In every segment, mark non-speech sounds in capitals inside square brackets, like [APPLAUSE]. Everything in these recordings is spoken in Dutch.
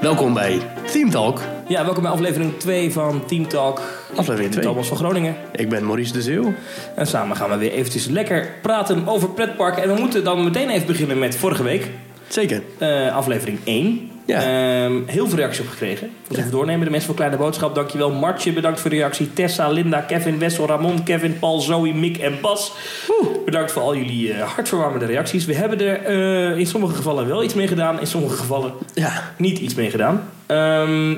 Welkom bij Team Talk, Ja, welkom bij aflevering 2 van Team Talk. aflevering 2. Thomas van Groningen. Ik ben Maurice de Zeeuw. En samen gaan we weer eventjes lekker praten over pretparken. En we moeten dan meteen even beginnen met vorige week, Zeker. eh, aflevering 1. Ja. Ehm, heel veel reacties op gekregen. Ik moet even doornemen. De mensen van Kleine Boodschap, dankjewel. Martje, bedankt voor de reactie. Tessa, Linda, Kevin, Wessel, Ramon, Kevin, Paul, Zoe, Mick en Bas. Bedankt voor al jullie eh, hartverwarmende reacties. We hebben er eh, in sommige gevallen wel iets mee gedaan. In sommige gevallen Ja, niet iets mee gedaan. Ehm,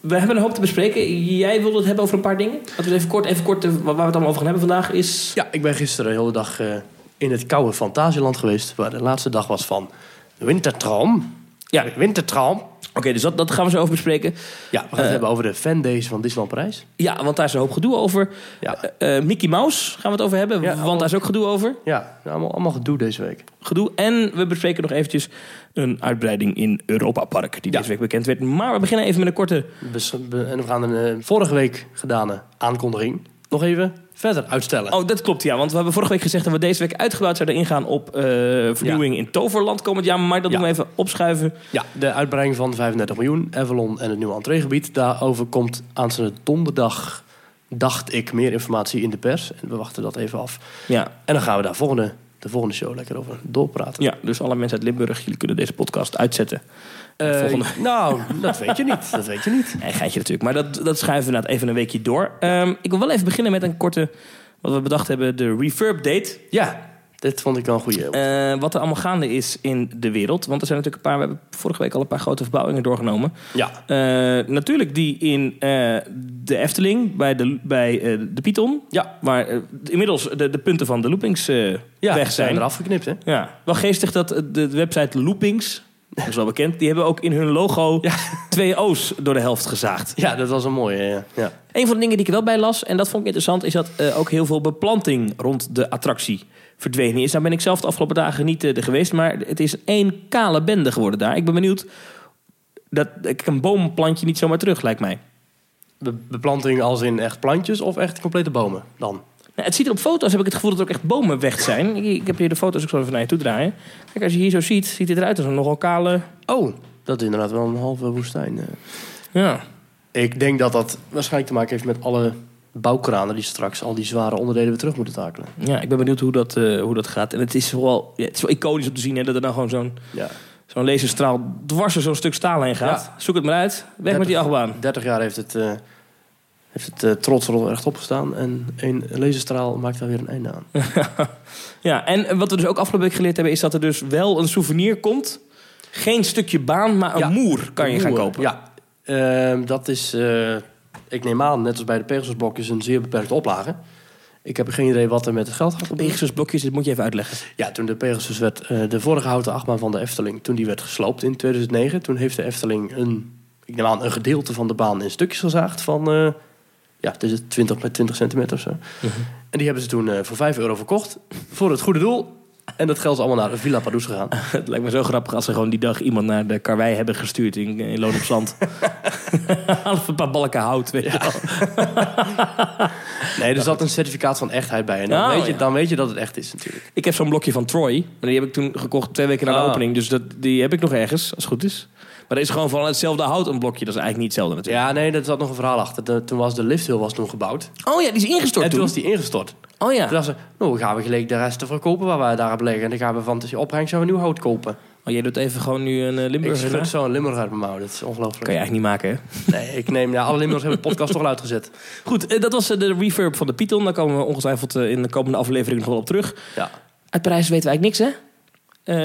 we hebben een hoop te bespreken. Jij wilde het hebben over een paar dingen. Laten we even kort, even kort eh, waar we het allemaal over gaan hebben vandaag is... ja ik ben gisteren de hele dag eh, in het koude Fantasieland geweest, waar de laatste dag was van de Wintertraum. Ja, De Wintertraum. oké, dus dat, dat gaan we zo over bespreken. Ja, we gaan het Eh. hebben over de fandays van Disneyland Parijs. Ja, want daar is een hoop gedoe over. Ja, Eh, eh, Mickey Mouse gaan we het over hebben, Ja, want allemaal- daar is ook gedoe over. ja allemaal, allemaal gedoe deze week. Gedoe. En we bespreken nog eventjes een uitbreiding in Europa Park, die Ja. deze week bekend werd. Maar we beginnen even met een korte... We, we- en we gaan een eh, vorige week gedane aankondiging nog even verder uitstellen. Oh, dat klopt, ja. Want we hebben vorige week gezegd dat we deze week uitgebreid zouden ingaan op eh, vernieuwing in Toverland komend jaar. Maar dat Ja. doen we even opschuiven. Ja, de uitbreiding van 35 miljoen, Avalon en het nieuwe entreegebied. Daarover komt aanstaande donderdag, dacht ik, meer informatie in de pers. En we wachten dat even af. Ja, En dan gaan we daar volgende, de volgende show lekker over doorpraten. ja, dus alle mensen uit Limburg, jullie kunnen deze podcast uitzetten. Eh, volgende. [LAUGHS] Nou, dat weet je niet. Dat weet je niet. Nee, geitje natuurlijk. Maar dat, dat schuiven we inderdaad even een weekje door. Ehm, ik wil wel even beginnen met een korte, wat we bedacht hebben, de refurb date. Ja, dit vond ik wel een goede. Eh, wat er allemaal gaande is in de wereld. Want er zijn natuurlijk een paar, we hebben vorige week al een paar grote verbouwingen doorgenomen. ja, Eh, natuurlijk die in eh, de Efteling, bij de, bij, eh, de Python. ja. Waar eh, inmiddels de, de punten van de loopings eh, ja weg zijn. eraf geknipt, hè? Ja, wel geestig dat eh, de website Loopings, dat is wel bekend, die hebben ook in hun logo twee O's door de helft gezaagd. Ja, dat was een mooie. Ja. Ja. Een van de dingen die ik er wel bij las, en dat vond ik interessant, is dat eh, ook heel veel beplanting rond de attractie verdwenen is. Daar ben ik zelf de afgelopen dagen niet eh, er geweest, maar het is één kale bende geworden daar. Ik ben benieuwd, dat, ik een boom plant je niet zomaar terug, lijkt mij. Be- beplanting als in echt plantjes of echt complete bomen dan? Nou, het ziet er op foto's, heb ik het gevoel dat er ook echt bomen weg zijn. Ik, ik heb hier de foto's, ik zal even naar je toe draaien. Kijk, als je hier zo ziet, ziet het eruit als een nogal kale... Oh, dat is inderdaad wel een halve woestijn. eh. Ja. Ik denk dat dat waarschijnlijk te maken heeft met alle bouwkranen die straks al die zware onderdelen weer terug moeten takelen. Ja, ik ben benieuwd hoe dat, eh, hoe dat gaat. En het is vooral ja, het is wel iconisch om te zien hè, dat er dan gewoon zo'n Ja. zo'n laserstraal dwars door zo'n stuk staal heen gaat. Zoek het maar uit. Weg met die achtbaan. 30 jaar heeft het, eh, heeft het eh, trots er rechtop gestaan en een laserstraal maakt daar weer een einde aan. Ja, en wat we dus ook afgelopen week geleerd hebben... is dat er dus wel een souvenir komt. Geen stukje baan, maar een Ja, moer kan je gaan Oeh, kopen. Ja, Ehm, dat is, eh, ik neem aan, net als bij de Pegasusblokjes, een zeer beperkte oplage. Ik heb geen idee wat er met het geld gaat gebeuren. Pegasus blokjes, dit moet je even uitleggen. Ja, toen de Pegasus werd, eh, de vorige houten achtbaan van de Efteling, toen die werd gesloopt in 2009, toen heeft de Efteling een, ik neem aan, een gedeelte van de baan in stukjes gezaagd van, eh, ja, het is het 20 bij 20 centimeter of zo. En die hebben ze toen eh, voor 5 euro verkocht, voor het goede doel. En dat geld is allemaal naar de Villa Pardoes gegaan. het lijkt me zo grappig als ze gewoon die dag iemand naar de karwei hebben gestuurd in, in Loon op Zand. [LAUGHS] Haal even een paar balken hout, weet je wel. Nee, er zat een certificaat van echtheid bij. En dan, Oh, weet, je, ja. dan weet je dat het echt is natuurlijk. Ik heb zo'n blokje van Troy. Maar die heb ik toen gekocht twee weken na de Ah. opening. Dus dat, die heb ik nog ergens, als het goed is. Maar er is gewoon van hetzelfde hout een blokje. Dat is eigenlijk niet hetzelfde natuurlijk. Ja, nee, daar zat nog een verhaal achter. De- toen was de lifthill was toen gebouwd. Oh ja, die is ingestort En toen toen. was die ingestort. Oh ja. Toen dachten ze, nou, dan gaan we gelijk de rest verkopen waar wij daar hebben liggen. En dan gaan we van tussen opbrengst gaan we nieuw hout kopen. Oh, jij doet even gewoon nu een eh, Ik Limburger na. schud zo'n Limburg uit mijn mouw. Dat is Kan ongelooflijk. je eigenlijk niet maken, hè? Nee, ik neem... Ja, alle Limburgers hebben de podcast [LAUGHS] toch al uitgezet. Goed, eh, dat was eh, de reverb van de Python. Daar komen we ongetwijfeld eh, in de komende aflevering nog wel op terug. Ja. Uit Parijs weten we eigenlijk niks, hè?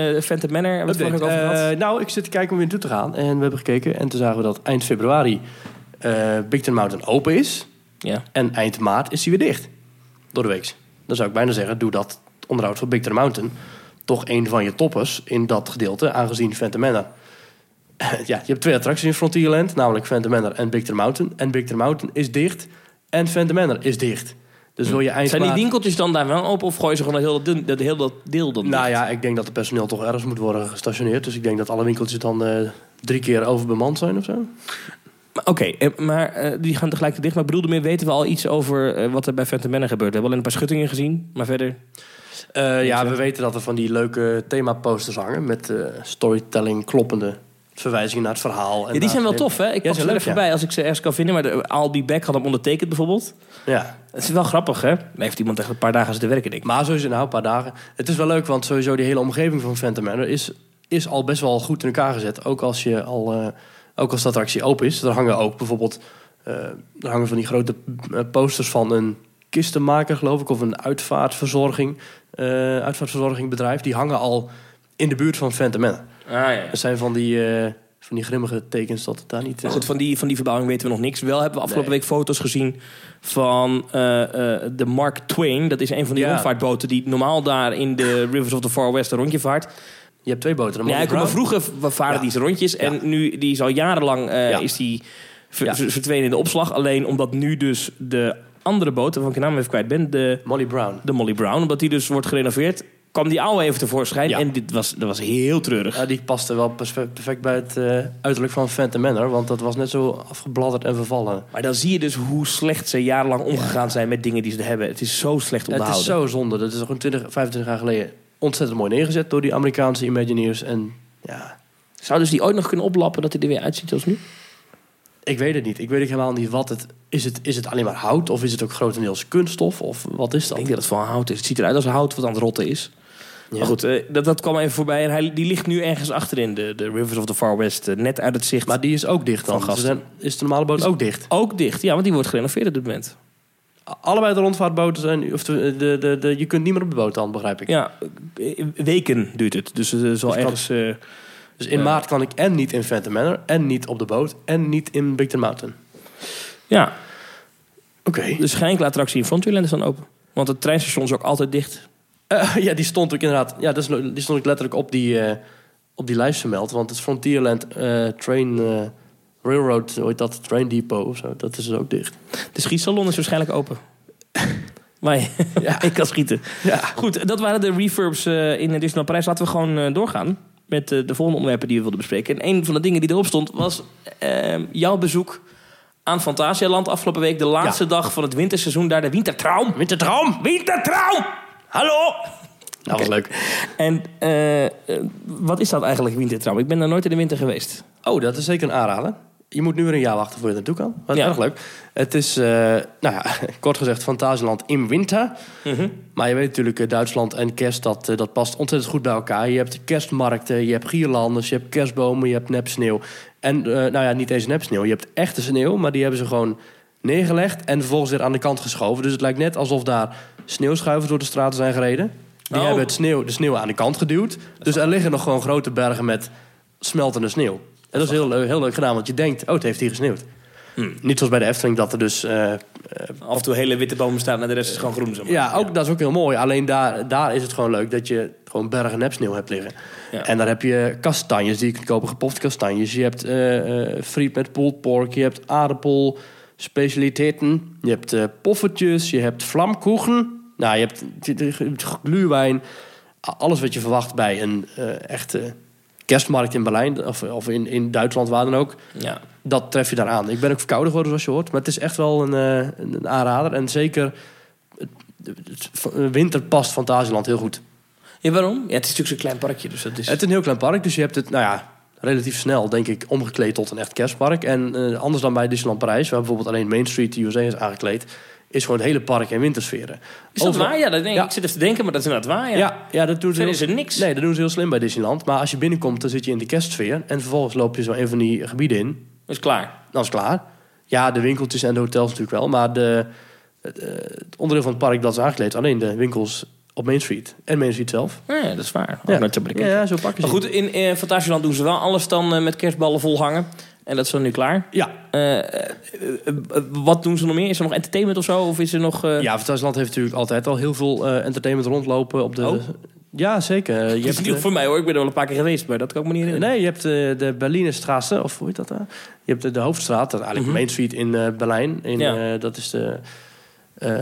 Eh Phantom Manor, hebben we het vorige week over gehad. Eh, nou, ik zit te kijken om weer naartoe te gaan. En we hebben gekeken. En toen zagen we dat eind februari eh Big Ten Mountain open is. Ja. En eind maart is hij weer dicht. Door de week. Dan zou ik bijna zeggen, doe dat onderhoud van Big Ten Mountain... toch een van je toppers in dat gedeelte, aangezien Phantom Manor... [LAUGHS] ja, je hebt twee attracties in Frontierland, namelijk Phantom Manor en Big Ten Mountain. En Big Ten Mountain is dicht en Phantom Manor is dicht. Dus wil je eind Hm. Zijn die maart- winkeltjes dan daar wel open of gooien ze gewoon dat hele, dun- dat hele deel dan Nou dicht? ja, ik denk dat het personeel toch ergens moet worden gestationeerd. Dus ik denk dat alle winkeltjes dan eh, drie keer overbemand zijn of zo. Maar Oké, eh, maar eh, die gaan tegelijk dicht. Maar ik bedoel, meer weten we al iets over eh, wat er bij Phantom Manor gebeurt. We hebben alleen een paar schuttingen gezien, maar verder... Eh, ja, we weten dat er van die leuke themaposters hangen. Met eh, storytelling kloppende verwijzingen naar het verhaal. En Ja, die zijn wel naar- tof, hè? Ja, Ik pak zijn ze wel leuk, even bij als ik ze ergens kan vinden. Maar de eh, I'll Be Back had hem ondertekend bijvoorbeeld. Ja. Het is wel grappig, hè? Daar heeft iemand echt een paar dagen zitten werken, denk ik. Maar sowieso, nou, een paar dagen. Het is wel leuk, want sowieso die hele omgeving van Phantom Manor is, is al best wel goed in elkaar gezet. Ook als, je al, eh, ook als de attractie open is. Er hangen ook bijvoorbeeld eh er hangen van die grote eh, posters van een kistenmaker, geloof ik. Of een uitvaartverzorging, eh, uitvaartverzorgingbedrijf. Die hangen al in de buurt van Phantom Manor. Ah, ja. Dat zijn van die, eh, van die grimmige tekens dat het daar niet... eh, Maar Dus, goed, van die, van die verbouwing weten we nog niks. Wel hebben we afgelopen Nee. week foto's gezien van eh, eh, de Mark Twain. Dat is een van die Ja. rondvaartboten die normaal daar in de Rivers of the Far West een rondje vaart. je hebt twee boten. de Ja, Molly ik kom maar Brown. vroeger v- varen Ja. die zijn rondjes. En nu, die is al jarenlang eh, Ja. is die ver- Ja. ver- verdwenen in de opslag. Alleen omdat nu dus de andere boot, waarvan ik de naam even kwijt ben, de, Molly Brown. de Molly Brown, omdat die dus wordt gerenoveerd, kwam die oude even tevoorschijn. Ja. En dit was, dat was heel treurig. Ja, die paste wel perfect perfect bij het eh, uiterlijk van Phantom Manor. Want dat was net zo afgebladderd en vervallen. Maar dan zie je dus hoe slecht ze jarenlang omgegaan zijn met dingen die ze hebben. Het is zo slecht Het onderhouden. is zo zonde. Dat is gewoon 20, 25 jaar geleden ontzettend mooi neergezet door die Amerikaanse Imagineers. En ja, Zouden ze die ooit nog kunnen oplappen dat hij er weer uitziet als nu? ik weet het niet. Ik weet ook helemaal niet wat het is. Het, is het alleen maar hout of is het ook grotendeels kunststof? Of wat is Ik dat? denk dat het van hout is. Het ziet eruit als hout wat aan het rotten is. Ja. Maar goed, eh, dat, dat kwam even voorbij. En hij, die ligt nu ergens achterin, de, de Rivers of the Far West. eh, net uit het zicht. Maar die is ook dicht dan. Van Ze gasten. zijn- is de normale boot Is- ook dicht? ook dicht, ja, want die wordt gerenoveerd op dit moment. A- Allebei de rondvaartboten zijn... Of de, de, de, de- je kunt niet meer op de boot dan, begrijp ik. Ja, eh, weken duurt het. Dus het is wel Dus dat- ergens... eh, Dus in Ja. maart kan ik en niet in Phantom Manor... en niet op de boot en niet in Big Ten Mountain. Dus ja, Oké. de schijnklaattractie in Frontierland is dan open. Want het treinstation is ook altijd dicht. Eh, [LAUGHS] ja, die stond ook inderdaad. Ja, dat is, no- die stond ik letterlijk op die, eh, op die lijst vermeld. Want het Frontierland eh, Train eh, Railroad, hoe heet dat? Train Depot of zo. Dat is dus ook dicht. De schietsalon is waarschijnlijk [LAUGHS] open. Waar je, Ja. [LAUGHS] ik kan schieten. Ja. Goed, dat waren de refurbs eh, in Disneyland Parijs. Laten we gewoon eh, doorgaan met eh, de volgende onderwerpen die we wilden bespreken. En een van de dingen die erop stond was eh, jouw bezoek aan Fantasialand afgelopen week. De laatste dag van het winterseizoen daar, de Wintertraum. Wintertraum! Wintertraum! Hallo! Dat was Oké. leuk. En eh, eh, wat is dat eigenlijk, wintertraum? Ik ben daar nooit in de winter geweest. Oh, dat is zeker een aanrader. Je moet nu weer een jaar wachten voor je er naartoe kan. Wat Ja. erg leuk. Het is, eh, nou ja, [LAUGHS] kort gezegd, Fantasieland in winter. Mhm. Maar je weet natuurlijk, eh, Duitsland en kerst, dat, eh, dat past ontzettend goed bij elkaar. Je hebt kerstmarkten, je hebt gierlanders, je hebt kerstbomen, je hebt nepsneeuw. En eh, nou ja, niet eens nepsneeuw. Je hebt echte sneeuw, maar die hebben ze gewoon neergelegd en vervolgens weer aan de kant geschoven. Dus het lijkt net alsof daar sneeuwschuivers door de straten zijn gereden. Die Oh. hebben het sneeuw, de sneeuw aan de kant geduwd. Dus er liggen nog gewoon grote bergen met smeltende sneeuw. En dat is heel, leu- heel leuk gedaan, want je denkt, oh, het heeft hier gesneeuwd. Niet zoals bij de Efteling, dat er dus eh, Af en toe hele witte bomen staan en de rest is gewoon groen. Zo ja, ook, dat is ook heel mooi. Alleen daar, daar is het gewoon leuk dat je gewoon bergen nepsneeuw hebt liggen. Ja. En daar heb je kastanjes die je kunt kopen, gepofte kastanjes. Je hebt eh, eh, friet met pulled pork, je hebt aardappel, specialiteiten. Je hebt eh, poffertjes, je hebt vlamkoegen. Nou, je hebt t- t- gluwijn. A- Alles wat je verwacht bij een eh, echte kerstmarkt in Berlijn of, of in, in Duitsland, waar dan ook. ja. Dat tref je daaraan. Ik ben ook verkouden geworden, zoals je hoort. Maar het is echt wel een, eh, een een aanrader. En zeker het- het- het- winter past Fantasieland heel goed. Ja, waarom? Ja, het is natuurlijk zo'n klein parkje, dus dat is... Het is een heel klein park, dus je hebt het, nou ja, relatief snel, denk ik, omgekleed tot een echt kerstpark. En eh, anders dan bij Disneyland Parijs, waar bijvoorbeeld alleen Main Street de USA is aangekleed, is gewoon het hele park in wintersferen. Is dat Overal- waar? Ja, dat denk ik. Ja. Ik zit even te denken, maar dat is inderdaad waar. Ja. Ja, ja, dat doen ze. Verder Heel, is er niks. nee, dat doen ze heel slim bij Disneyland. Maar als je binnenkomt, dan zit je in de kerstsfeer. En vervolgens loop je zo een van die gebieden in. Dat is klaar. dan is het klaar. Ja, de winkeltjes en de hotels natuurlijk wel. Maar de, het, eh, het onderdeel van het park dat is aangekleed... alleen de winkels op Main Street. En Main Street zelf. Ja, dat is waar. Ja. Ja. Nooit zo bekeken. Ja, zo pakken ze Maar het. goed, in eh Fantasieland doen ze wel alles dan eh, met kerstballen volhangen. En dat is dan nu klaar. Ja, Eh, eh, eh, eh, wat doen ze nog meer? Is er nog entertainment of zo? Of is er nog... eh, ja Fantasieland heeft natuurlijk altijd al heel veel eh, entertainment rondlopen. Op de, Oh. Ja, zeker. Eh, Je dat is hebt, nieuw eh, voor mij hoor. Ik ben er wel een paar keer geweest, maar dat kan ik me niet herinneren. nee, je hebt eh, de Berliner Straße, of hoe heet dat daar? Je hebt de, de Hoofdstraat, dat is eigenlijk Mhm. Main Street in eh, Berlijn. In, Ja. eh, dat is de... eh,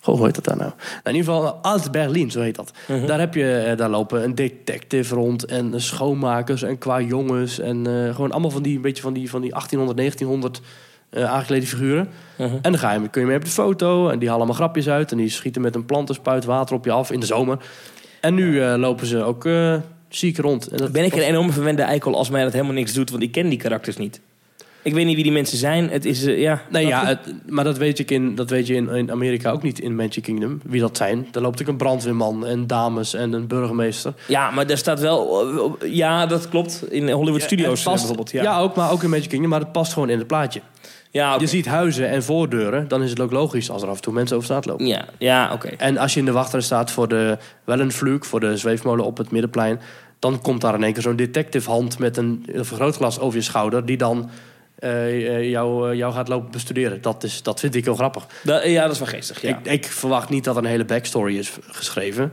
goh, hoe heet dat daar nou? nou in ieder geval Alt-Berlin, zo heet dat. Mhm. Daar, heb je, eh, daar lopen een detective rond en eh, schoonmakers en qua jongens. En eh, gewoon allemaal van die, een beetje van die, van die 1800, 1900 eh, aangeklede figuren. Mhm. En dan ga je, kun je mee op de foto. En die halen allemaal grapjes uit. En die schieten met een plantenspuit water op je af in de zomer. En nu eh, lopen ze ook eh, zie ik rond. En dat Ben ik was- een enorme verwende eikel als mij dat helemaal niks doet, want ik ken die karakters niet. Ik weet niet wie die mensen zijn. Het is, eh, ja. Nee, ja, Snap je? het- maar dat weet, ik in, dat weet je in, in Amerika ook niet, in Magic Kingdom. Wie dat zijn. Daar loopt ook een brandweerman en dames en een burgemeester. ja, maar daar staat wel. eh, op- Ja, dat klopt. In Hollywood Studios eh, Het past- bijvoorbeeld. Ja, Ja, ja, ook, maar ook in Magic Kingdom. Maar het past gewoon in het plaatje. oké. Je ziet huizen en voordeuren. Dan is het ook logisch als er af en toe mensen over straat lopen. ja, ja oké. En als je in de wachtrij staat voor de Wellenvlug, voor de zweefmolen op het middenplein, dan komt daar in één keer zo'n detective hand met een vergrootglas over je schouder, die dan eh, eh, jou, eh, jou gaat lopen bestuderen. Dat, is, dat vind ik heel grappig. Dat- Ja, dat is wel geestig. Ja. Ik, ik verwacht niet dat er een hele backstory is geschreven,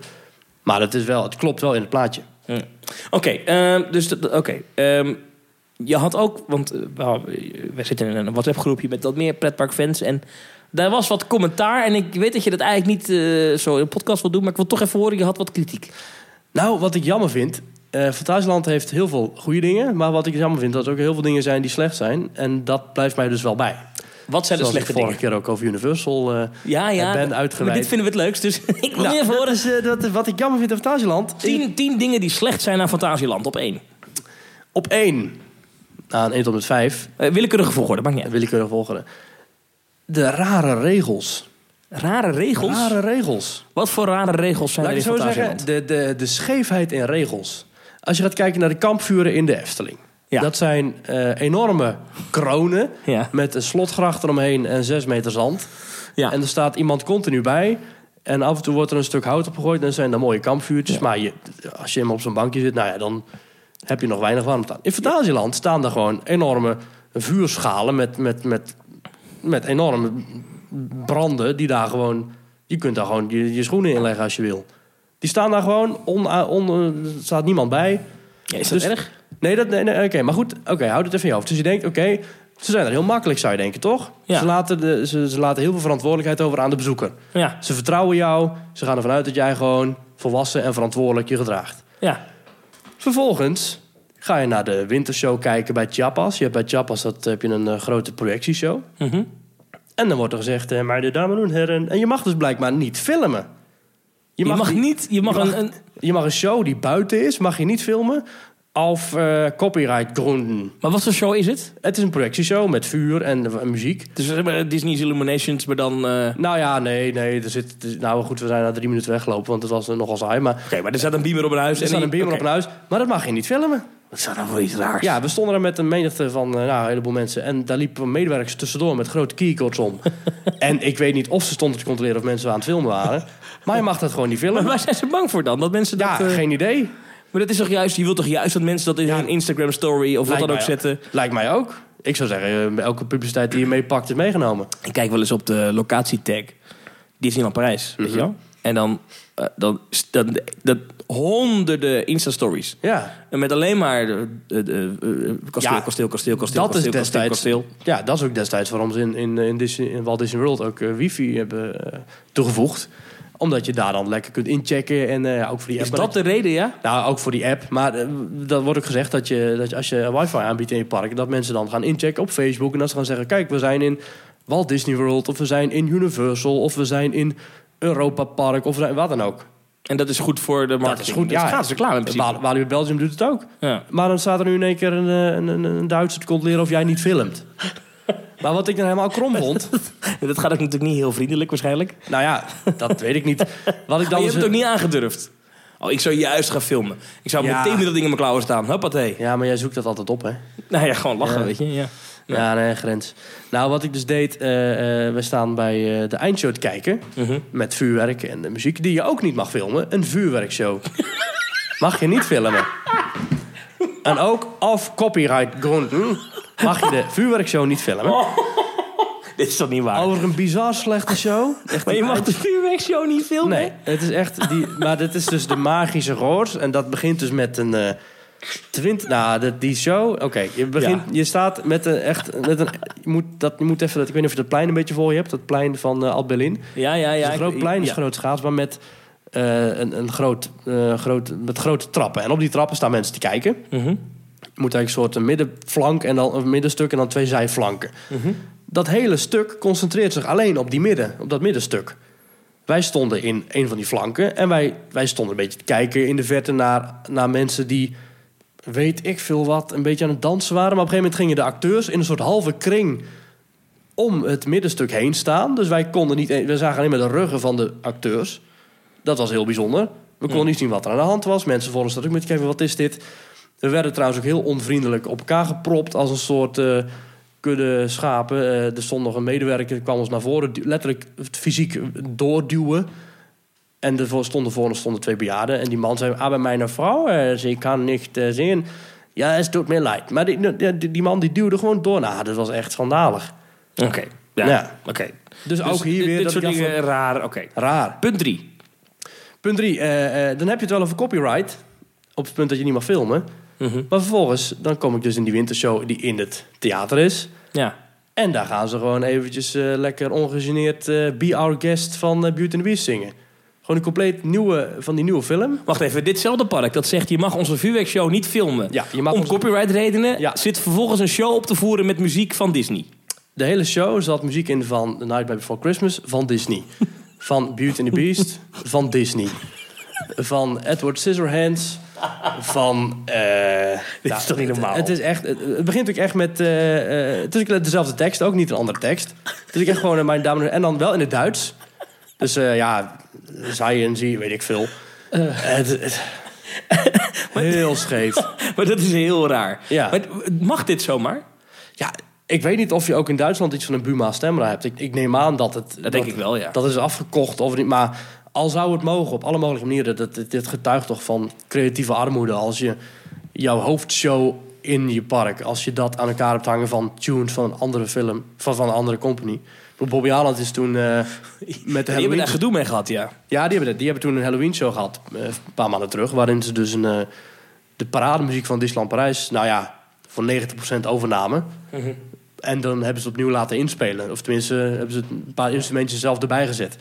maar het, is wel, het klopt wel in het plaatje. Hm. Oké, ehm, dus dat- oké. ehm, je had ook, want eh, nou, we zitten in een WhatsApp-groepje met wat meer pretparkfans en daar was wat commentaar en ik weet dat je dat eigenlijk niet eh, zo in een podcast wil doen, maar ik wil toch even horen, je had wat kritiek. Nou, wat ik jammer vind. eh Fantasieland heeft heel veel goede dingen. Maar wat ik jammer vind, dat er ook heel veel dingen zijn die slecht zijn. En dat blijft mij dus wel bij. Wat zijn Zoals de ik slechte vorige dingen? keer ook over Universal eh, Ja, ja. ben d- uitgeweid. Maar dit vinden we het leukst, dus [LAUGHS] ik wil Nou, meer dat horen. is, eh, dat is wat ik jammer vind aan Fantasieland. Tien, tien dingen die slecht zijn aan Fantasieland op één. Op één, aan 1 tot met 5, Eh willekeurige volgorde, maakt niet uit. willekeurig volgende. De rare regels. Rare regels? Rare regels. Wat voor rare regels zijn Laat ik er het in zo Fantasieland? zeggen, de, de, de scheefheid in regels. Als je gaat kijken naar de kampvuren in de Efteling. Ja. Dat zijn eh, enorme kronen Ja. met een slotgracht eromheen en 6 meter zand. Ja. En er staat iemand continu bij. En af en toe wordt er een stuk hout opgegooid. En dan zijn er mooie kampvuurtjes. Maar je, als je helemaal op zo'n bankje zit, nou ja, dan heb je nog weinig warmte aan. In Fantasieland staan er gewoon enorme vuurschalen met, met, met, met enorme branden die daar gewoon... Je kunt daar gewoon je, je schoenen in leggen als je wil. Die staan daar gewoon, on, on, er staat niemand bij. Ja, is dat Dus- erg? Nee, dat, nee, nee oké, maar goed, oké, houd het even in je hoofd. Dus je denkt, oké, ze zijn er heel makkelijk, zou je denken, toch? Ja. Ze, laten de, ze, ze laten heel veel verantwoordelijkheid over aan de bezoeker. Ja, Ze vertrouwen jou, ze gaan ervan uit dat jij gewoon volwassen en verantwoordelijk je gedraagt. ja. Vervolgens ga je naar de wintershow kijken bij Chiapas. Je hebt bij Chiapas dat, heb je een eh, grote projectieshow. Mhm. En dan wordt er gezegd, eh, maar de dames en heren... En je mag dus blijkbaar niet filmen. Je mag, niet. niet, je mag, je mag- een, een- Je mag een show die buiten is, mag je niet filmen. Of eh copyright gronden. Maar wat voor show is het? Het is een projectieshow met vuur en eh, muziek. Dus zeg maar Disney's Illuminations, maar dan... eh, Oké, Nou ja, nee, nee. Er zit, nou goed, we zijn na drie minuten weggelopen, want het was eh, nogal saai. Maar maar er staat een beamer op een huis. er staat een beamer op een huis, maar dat mag je niet filmen. Wat zou dan voor iets raars? Ja, we stonden er met een menigte van eh, nou, een heleboel mensen. En daar liepen medewerkers tussendoor met grote keycords [LAUGHS] om. en ik weet niet of ze stonden te controleren of mensen aan het filmen waren. Maar je mag dat gewoon niet Maar filmen. waar zijn ze bang voor dan? Dat mensen dat... Ja, eh, geen idee. Maar dat is toch juist... Je wilt toch juist dat mensen dat in hun Instagram story of wat Lijkt dan ook mij- zetten? Lijkt mij ook. Ik zou zeggen, eh, elke publiciteit die je meepakt is meegenomen. Ik kijk wel eens op de locatietag. Disneyland Parijs, weet je Mhm. wel? En dan, eh, dan, dan, dat honderden Insta-stories. Ja, En Met alleen maar de, de- de- eh, kasteel, Ja, kasteel, kasteel, kasteel, dat is kasteel, kasteel, destijds- kasteel. Ja, dat is ook destijds waarom ze in, in, in, Disney, in Walt Disney World ook eh, wifi hebben eh, toegevoegd. Omdat je daar dan lekker kunt inchecken en eh, ja, ook voor die Is app. dat de reden, ja? Nou, ook voor die app. Maar eh, dat wordt ook gezegd dat, je, dat je, als je wifi aanbiedt in je park... dat mensen dan gaan inchecken op Facebook en dat ze gaan zeggen... kijk, we zijn in Walt Disney World of we zijn in Universal... of we zijn in Europa Park of we zijn, wat dan ook. En dat is goed voor de marketing. Dus ja. Dat is gratis reclame in principe. Wal- Walibi Belgium doet het ook. Ja. Maar dan staat er nu in één keer een, eh, een, een, een Duitser te controleren of jij niet [LAUGHS] filmt. Maar wat ik dan helemaal krom vond... Dat gaat ook natuurlijk niet heel vriendelijk waarschijnlijk. Nou ja, dat weet ik niet. Wat ik Maar dan je dus- hebt het ook niet aangedurfd. Oh, ik zou juist gaan filmen. Ik zou Ja. meteen met dat ding in mijn klauwen staan. Huppatee. Ja, maar jij zoekt dat altijd op, hè? Nou ja, gewoon lachen, Ja. weet je. Ja. [LAUGHS] Ja. Ja, nee, grens. Nou, wat ik dus deed, eh, eh, we staan bij eh, de eindshow te kijken. Mhm. Met vuurwerk en de muziek, die je ook niet mag filmen. Een vuurwerkshow. mag je niet filmen. En ook af copyright gronden mag je de vuurwerkshow niet Oh. filmen. Dit is toch niet waar? Over een bizar slechte show. Oh, Echt maar je mag de vuurwerkshow niet filmen? Nee, het is echt die, maar dit is dus de magische roos. En dat begint dus met een. eh twint, nou, dat- die show. Oké, je begint. Je staat met een echt. Met een, je, moet, dat, je moet even. Dat, ik weet niet of je dat plein een beetje voor je hebt. Dat plein van eh Alt-Berlin. Ja, ja, Het ja. is een groot ik- plein, is ja. groot schaatsbaan met. eh, een, een groot, eh, groot, met grote trappen. En op die trappen staan mensen te kijken. Mhm. Je moet eigenlijk een soort een middenflank en dan een middenstuk en dan twee Mhm. zijflanken. Dat hele stuk concentreert zich alleen op die midden, op dat middenstuk. Wij stonden in een van die flanken en wij, wij stonden een beetje te kijken in de verte naar, naar mensen die, weet ik veel wat, een beetje aan het dansen waren. Maar op een gegeven moment gingen de acteurs in een soort halve kring om het middenstuk heen staan. Dus wij konden niet, e- we zagen alleen maar de ruggen van de acteurs. Dat was heel bijzonder. We konden Ja. niet zien wat er aan de hand was. Mensen vonden dat ook met kijken, wat is dit? We werden trouwens ook heel onvriendelijk op elkaar gepropt als een soort eh, kudde schapen. Eh, er stond nog een medewerker, die kwam ons naar voren, du- letterlijk fysiek doorduwen. En er stonden voor ons stonden twee bejaarden. En die man zei, ah, bij mijn vrouw, eh, ze kan niet eh, zien. Ja, het doet me leid. Maar die, die, die man die duwde gewoon door. Nou, dat was echt schandalig. Oké. Ja. Ja. Oké. Dus, Dus ook hier dit- weer Dit dat soort ik dacht dingen van, raar. Oké. raar. Punt 3. Punt 3. dan heb je het wel over copyright. Op het punt dat je niet mag filmen. Mhm. Maar vervolgens, dan kom ik dus in die wintershow die in het theater is. Ja. En daar gaan ze gewoon eventjes eh, lekker ongegeneerd eh, Be Our Guest van eh, Beauty and the Beast zingen. Gewoon een compleet nieuwe, van die nieuwe film. Wacht even, ditzelfde park dat zegt je mag onze vuurwerkshow niet filmen. Ja, je mag Om ons- copyright redenen Ja. zit vervolgens een show op te voeren met muziek van Disney. [LAUGHS] De hele show zat muziek in van The Night Before Christmas van Disney. Van Beauty and the Beast van Disney. Van Edward Scissorhands van... eh, Dit is toch niet het- normaal? Het, is echt, het, het begint ook echt met... eh, eh, het is ook dezelfde tekst, ook niet een andere tekst. Het is ook echt gewoon eh, mijn dame... En dan wel in het Duits. Dus eh, ja, science, weet ik veel. Eh. Het- [LAUGHS] het- heel scheef. Maar dat is heel raar. Ja. Maar d- mag dit zomaar? Ja, ik weet niet of je ook in Duitsland iets van een Buma stemra hebt. Ik, ik neem aan dat het... Dat denk ik wel, ja. Dat is afgekocht of niet. Maar al zou het mogen, op alle mogelijke manieren. Dat, dit- dit getuigt toch van creatieve armoede. Als je jouw hoofdshow in je park. Als je dat aan elkaar hebt hangen van tunes van een andere film. Van, van een andere company. Ik bedoel, Bobby Aland is toen [LAUGHS] eh, met de Die hebben Halloween... daar gedoe mee gehad, ja. Ja, die hebben, die hebben toen een Halloween show gehad. eh, een paar maanden terug. Waarin ze dus een, eh, de parademuziek van Disneyland Parijs. Nou ja, voor 90% overnamen. En dan hebben ze het opnieuw laten inspelen. Of tenminste, eh, hebben ze het een paar instrumentjes zelf erbij gezet.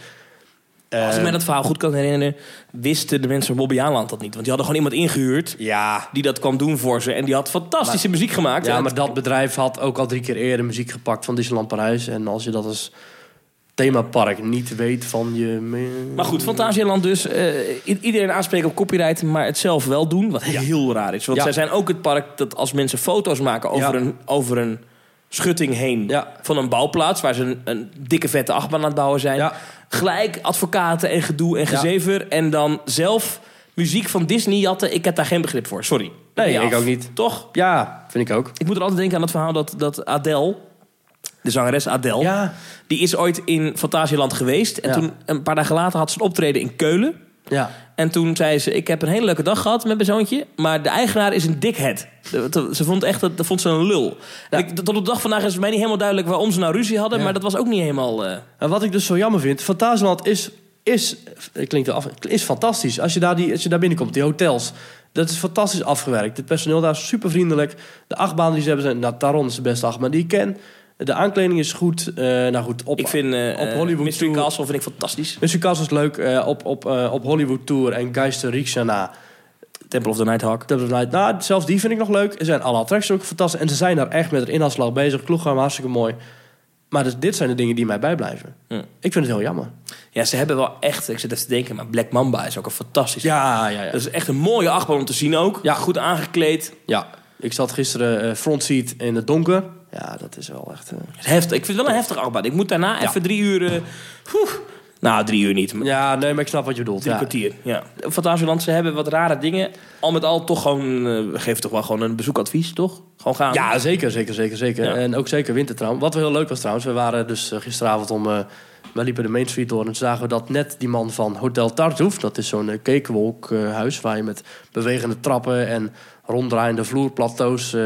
Als ik Eh, mij dat verhaal goed kan herinneren, wisten de mensen van Bobby Aanland dat niet. Want die hadden gewoon iemand ingehuurd Ja, die dat kwam doen voor ze. En die had fantastische muziek gemaakt. ja, En maar dat bedrijf had ook al drie keer eerder muziek gepakt van Disneyland Parijs. En als je dat als themapark niet weet van je... me- Maar goed, Fantasieland dus. eh, i- iedereen aanspreken op copyright, maar het zelf wel doen. Wat heel raar is. Want Ja. zij zijn ook het park dat als mensen foto's maken over, Ja. een, over een schutting heen... Ja. van een bouwplaats waar ze een, een dikke vette achtbaan aan het bouwen zijn... Ja. gelijk advocaten en gedoe en gezever... en dan zelf muziek van Disney jatten. Ik heb daar geen begrip voor, sorry. Nee, Ja, ik ook niet. Toch? Ja, vind ik ook. Ik moet er altijd denken aan het verhaal dat, dat Adele... De zangeres Adele, Ja, die is ooit in Fantasieland geweest. En Ja. toen, een paar dagen later, had ze een optreden in Keulen. ja. En toen zei ze, ik heb een hele leuke dag gehad met mijn zoontje... maar de eigenaar is een dikhead. De- de- Ze vond, echt, dat dat vond ze een lul. En ik- tot op de dag vandaag is het mij niet helemaal duidelijk waarom ze nou ruzie hadden... maar dat was ook niet helemaal... eh, En wat ik dus zo jammer vind, Fantasieland is, is, eh, klinkt er af, is fantastisch. Als je, daar die, als je daar binnenkomt, die hotels, dat is fantastisch afgewerkt. Het personeel daar is super vriendelijk. De achtbanen die ze hebben zijn, nou, Taron is de beste achtbaan die ik ken. De aankleding is goed. eh, nou goed, op, ik vind eh op Hollywood Mystery Tour- Castle vind ik fantastisch. Dus Castle is leuk eh, op, op, eh, op Hollywood Tour en Geister Rikshana. Temple of the Nighthawk. Dat is nou, nou, zelfs die vind ik nog leuk. Er zijn alle attracties ook fantastisch. En ze zijn daar echt met een inhaalslag bezig. Kloegraam hartstikke mooi. Maar dus, dit zijn de dingen die mij bijblijven. Ja. Ik vind het heel jammer. Ja, ze hebben wel echt... Ik zit even te denken, maar Black Mamba is ook een fantastisch... Ja, ja, ja. Dat is echt een mooie achtbaan om te zien ook. Ja. Goed aangekleed. ja. Ik zat gisteren eh front seat in het donker. Ja, dat is wel echt... eh, Heftig. Ik vind het wel een heftige achtbaan. Ik moet daarna Ja. even drie uur... eh, oeh. nou, drie uur niet. maar Ja, nee, maar ik snap wat je bedoelt. Drie Ja. kwartier, ja. Fantasieland, ze hebben wat rare dingen. Al met al toch gewoon, eh geef toch wel gewoon een bezoekadvies, toch? Gewoon gaan. Ja, zeker, zeker, zeker, zeker. Ja. En ook zeker wintertrouw. Wat wel heel leuk was trouwens, we waren dus eh, gisteravond om... eh we liepen de Main Street door en toen zagen we dat net die man van Hotel Tartuffe... dat is zo'n eh, cakewalk eh, huis waar je met bewegende trappen en ronddraaiende vloerplateaus... eh,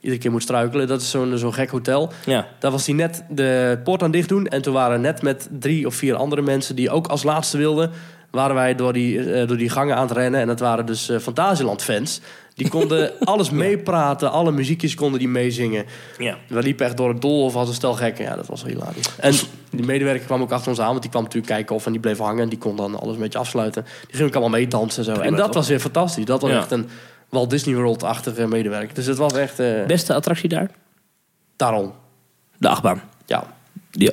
iedere keer moet struikelen. Dat is zo'n zo'n gek hotel. Ja. Daar was hij net de poort aan dicht doen. En toen waren net met drie of vier andere mensen die ook als laatste wilden... waren wij door die, eh, door die gangen aan het rennen. En dat waren dus eh, Fantasieland-fans. Die [LAUGHS] konden alles meepraten, alle muziekjes konden die meezingen. ja. We liepen echt door het doolhof als een stel gekken. Ja, dat was wel hilarisch. En die medewerker kwam ook achter ons aan, want die kwam natuurlijk kijken of... en die bleef hangen en die kon dan alles een beetje afsluiten. Die ging ook allemaal meedansen en zo. en dat toch? was weer fantastisch. Dat was Ja. echt een Walt Disney World-achtige medewerker. Dus het was echt... eh Beste attractie daar? daarom. De achtbaan. Ja. Ja.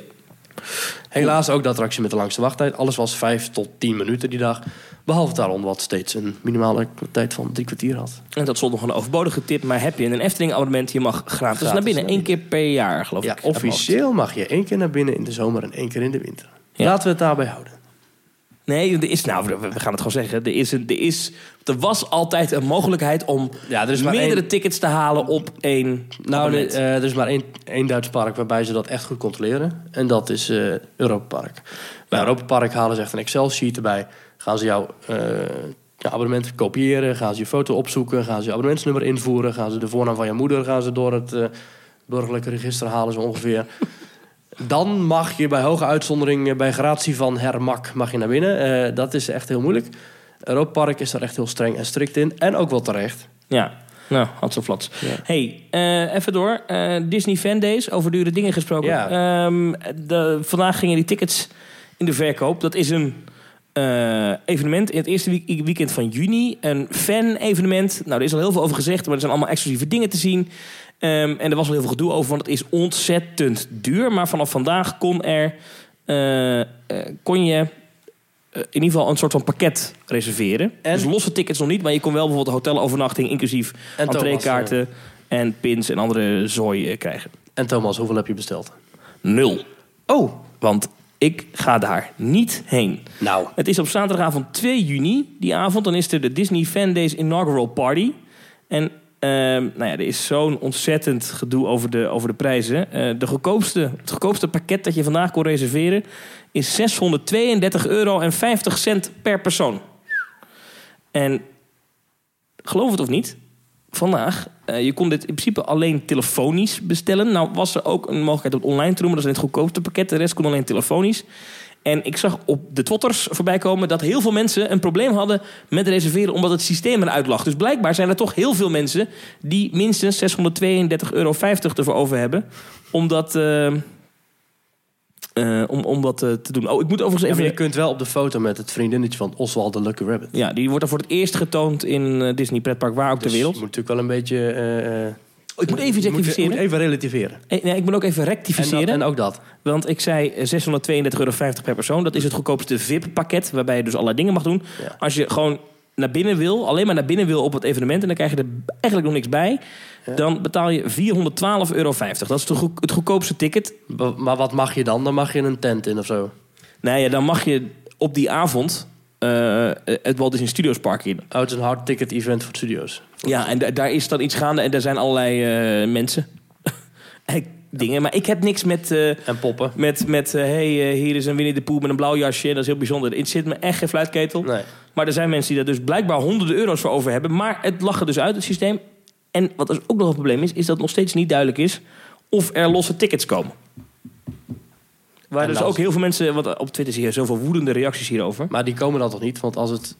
Helaas ook de attractie met de langste wachttijd. Alles was 5 tot 10 minuten die dag. Behalve Taron, wat steeds een minimale tijd van drie kwartier had. En dat stond nog een overbodige tip. Maar heb je een Efteling abonnement, je mag gratis, naar binnen. naar Eén keer per jaar, geloof Ja, ik. officieel mag je één keer naar binnen in de zomer en één keer in de winter. Ja. Laten we het daarbij houden. Nee, er is, nou, we- we gaan het gewoon zeggen. Er, is een, er, is, er was altijd een mogelijkheid om Ja, er is maar meerdere één- tickets te halen op één Nou, de- abonnement. eh, er is maar één, één Duits park waarbij ze dat echt goed controleren. En dat is eh Europa Park. Bij Europa Park halen ze echt een Excel-sheet erbij. Gaan ze jouw eh, ja, abonnement kopiëren. Gaan ze je foto opzoeken. Gaan ze je abonnementsnummer invoeren. Gaan ze de voornaam van je moeder gaan ze door het eh, burgerlijke register halen, zo [LAUGHS] ongeveer. Dan mag je bij hoge uitzondering, eh, bij gratie van hermak, mag je naar binnen. Eh, dat is echt heel moeilijk. Europa Park is daar echt heel streng en strikt in. En ook wel terecht. Ja, nou, had zo flats. Ja. hey, eh, even door. Eh, Disney Fan Days, over dure dingen gesproken. Ja. Ehm, de, vandaag gingen die tickets in de verkoop. Dat is een eh, evenement in het eerste week- weekend van juni. Een fan-evenement. Nou, er is al heel veel over gezegd, maar er zijn allemaal exclusieve dingen te zien. Ehm, en er was al heel veel gedoe over, want het is ontzettend duur. Maar vanaf vandaag kon er... eh, eh, kon je eh, in ieder geval een soort van pakket reserveren. En- Dus losse tickets nog niet, maar je kon wel bijvoorbeeld hotelovernachting inclusief En Thomas, entreekaarten en pins en andere zooi eh, krijgen. En Thomas, hoeveel heb je besteld? Nul. Oh, Want ik ga daar niet heen. nou. Het is op zaterdagavond 2 juni, die avond. Dan is er de Disney Fan Days Inaugural Party. En ehm, nou ja, er is zo'n ontzettend gedoe over de, over de prijzen. Eh, de goedkoopste, het goedkoopste pakket dat je vandaag kon reserveren... is 632 euro en 50 cent per persoon. En geloof het of niet, vandaag... eh, je kon dit in principe alleen telefonisch bestellen. Nou was er ook een mogelijkheid om het online te doen... maar dat is het goedkoopste pakket. De rest kon alleen telefonisch. En ik zag op de twotters voorbij komen dat heel veel mensen een probleem hadden met reserveren omdat het systeem eruit lag. Dus blijkbaar zijn er toch heel veel mensen die minstens 632,50 euro ervoor over hebben. Om dat, eh, eh, om, om dat eh, te doen. Oh, ik moet overigens Ja, even... maar je kunt wel op de foto met het vriendinnetje van Oswald de Lucky Rabbit. Ja, die wordt dan voor het eerst getoond in eh, Disney Pretpark, waar ook Dus ter wereld. Je moet natuurlijk wel een beetje... eh, eh, Oh, ik moet even iets je moet- je rectificeren. moet even relativeren. En Eh, nee, ik moet ook even dat- rectificeren. En, ook dat. Want ik zei eh, 632,50 euro per persoon. Dat is het goedkoopste VIP-pakket, waarbij je dus allerlei dingen mag doen. Ja. Als je gewoon naar binnen wil, alleen maar naar binnen wil op het evenement... en dan krijg je er eigenlijk nog niks bij... dan betaal je 412,50 euro. Dat is de goe- het goedkoopste ticket. Ba- Maar wat mag je dan? Dan mag je een tent in of zo. Nou ja, dan mag je op die avond eh, het Walt Disney Studios Park in. Oh, het is een hard ticket event voor het studio's. Ja, en da- daar is dan iets gaande en daar zijn allerlei eh, mensen. [LAUGHS] en dingen, maar ik heb niks met... eh, En poppen. met, met eh, hey, eh, hier is een Winnie de Pooh met een blauw jasje. Dat is heel bijzonder. Het zit me echt geen fluitketel. Nee. Maar er zijn mensen die daar dus blijkbaar honderden euro's voor over hebben. Maar het lag er dus uit, het systeem. En wat dus ook nog een probleem is, is dat het nog steeds niet duidelijk is of er losse tickets komen. Waar En dus dat- ook heel veel mensen, want op Twitter zie je zoveel woedende reacties hierover. Maar die komen dan toch niet? Want als het,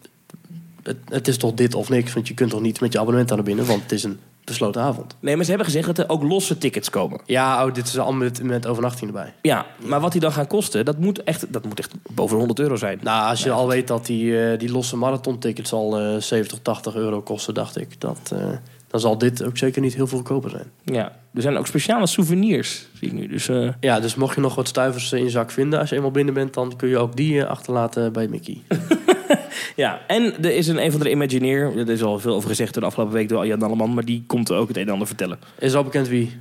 het... Het is toch dit of niks? Want je kunt toch niet met je abonnement aan naar binnen? Want het is een besloten avond. Nee, maar ze hebben gezegd dat er ook losse tickets komen. Ja, oh, dit is allemaal met, met overnachting erbij. Ja, maar wat die dan gaan kosten, dat moet echt, dat moet echt boven de 100 euro zijn. Nou, als je al weet dat die, eh, die losse marathon-tickets al eh, 70, 80 euro kosten, dacht ik. Dat, eh, dan zal dit ook zeker niet heel veel goedkoper zijn. Ja, er zijn ook speciale souvenirs, zie ik nu. Dus eh, Ja, dus mocht je nog wat stuivers eh, in je zak vinden als je eenmaal binnen bent, dan kun je ook die eh, achterlaten bij Mickey. Ja, en er is een, een van de Imagineer. Er is al veel over gezegd de afgelopen week door Jan Alleman. Maar die komt er ook het een en ander vertellen. [LAUGHS] Is al bekend wie?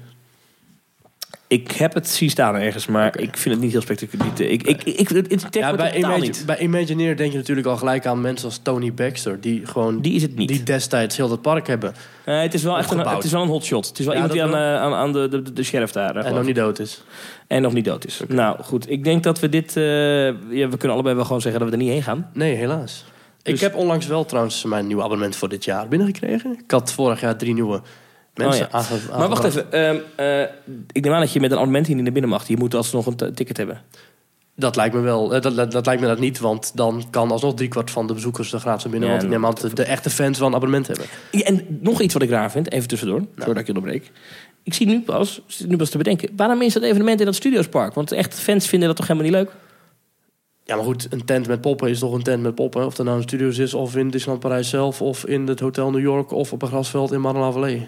Ik heb het zien staan ergens, maar ik vind het niet heel spectaculair. Ik, ik, ik, ik, het trekt Ja, me bij, totaal Imag- niet. bij Imagineer denk je natuurlijk al gelijk aan mensen als Tony Baxter, die gewoon Die is het niet. die destijds heel dat park hebben Eh, het, is wel echt een, opgebouwd. het is wel een hotshot. Het is wel Ja, iemand die dat aan, eh, aan, aan de, de, de sheriff daar... eh, en geloof nog ik. niet dood is. en nog niet dood is. Nou, goed. Ik denk dat we dit... eh, ja, we kunnen allebei wel gewoon zeggen dat we er niet heen gaan. Nee, helaas. Ik Dus- heb onlangs wel trouwens mijn nieuw abonnement voor dit jaar binnengekregen. Ik had vorig jaar drie nieuwe mensen Oh ja. aange- Maar wacht aangebracht. even. ehm, eh, ik neem aan dat je met een abonnement hier niet naar binnen mag. Je moet alsnog een t- ticket hebben. Dat lijkt me wel. eh, Dat, dat, dat lijkt me dat niet, want dan kan alsnog driekwart van de bezoekers er gratis naar binnen. Ja, want ik neem aan dat de, de echte fans wel een abonnement hebben. Ja, en nog iets wat ik raar vind, even tussendoor, voordat ik je onderbreek. Ik zie nu pas, zit nu pas te bedenken, waarom is dat evenement in dat Studiospark? Want echt, fans vinden dat toch helemaal niet leuk? Ja, maar goed, een tent met poppen is toch een tent met poppen. Of dat nou in studios is, of in Disneyland Parijs zelf, of in het Hotel New York, of op een grasveld in Marla Valley.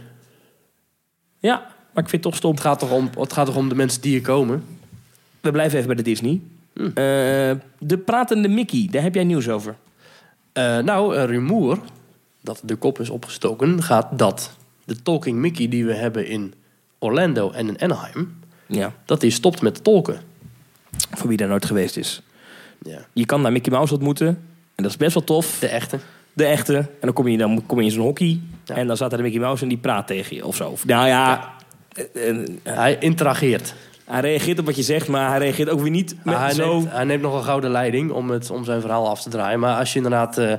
Ja, maar ik vind het toch stom. Het gaat toch om, het gaat toch om de mensen die hier komen? We blijven even bij de Disney. Hm. Eh, de pratende Mickey, daar heb jij nieuws over. Eh, nou, een rumoer dat de kop is opgestoken gaat dat de Talking Mickey die we hebben in Orlando en in Anaheim, Ja. dat die stopt met tolken. Voor wie daar nooit geweest is. Ja. Je kan daar Mickey Mouse ontmoeten. En dat is best wel tof. De echte. De echte. En dan kom je, dan kom je in zo'n hockey. Ja. En dan staat er een Mickey Mouse en die praat tegen je of zo. Of, nou ja, eh, eh, Hij interageert. hij reageert op wat je zegt, maar hij reageert ook weer niet met Maar hij, zo... neemt, hij neemt nog een gouden leiding om, het, om zijn verhaal af te draaien. Maar als je inderdaad eh,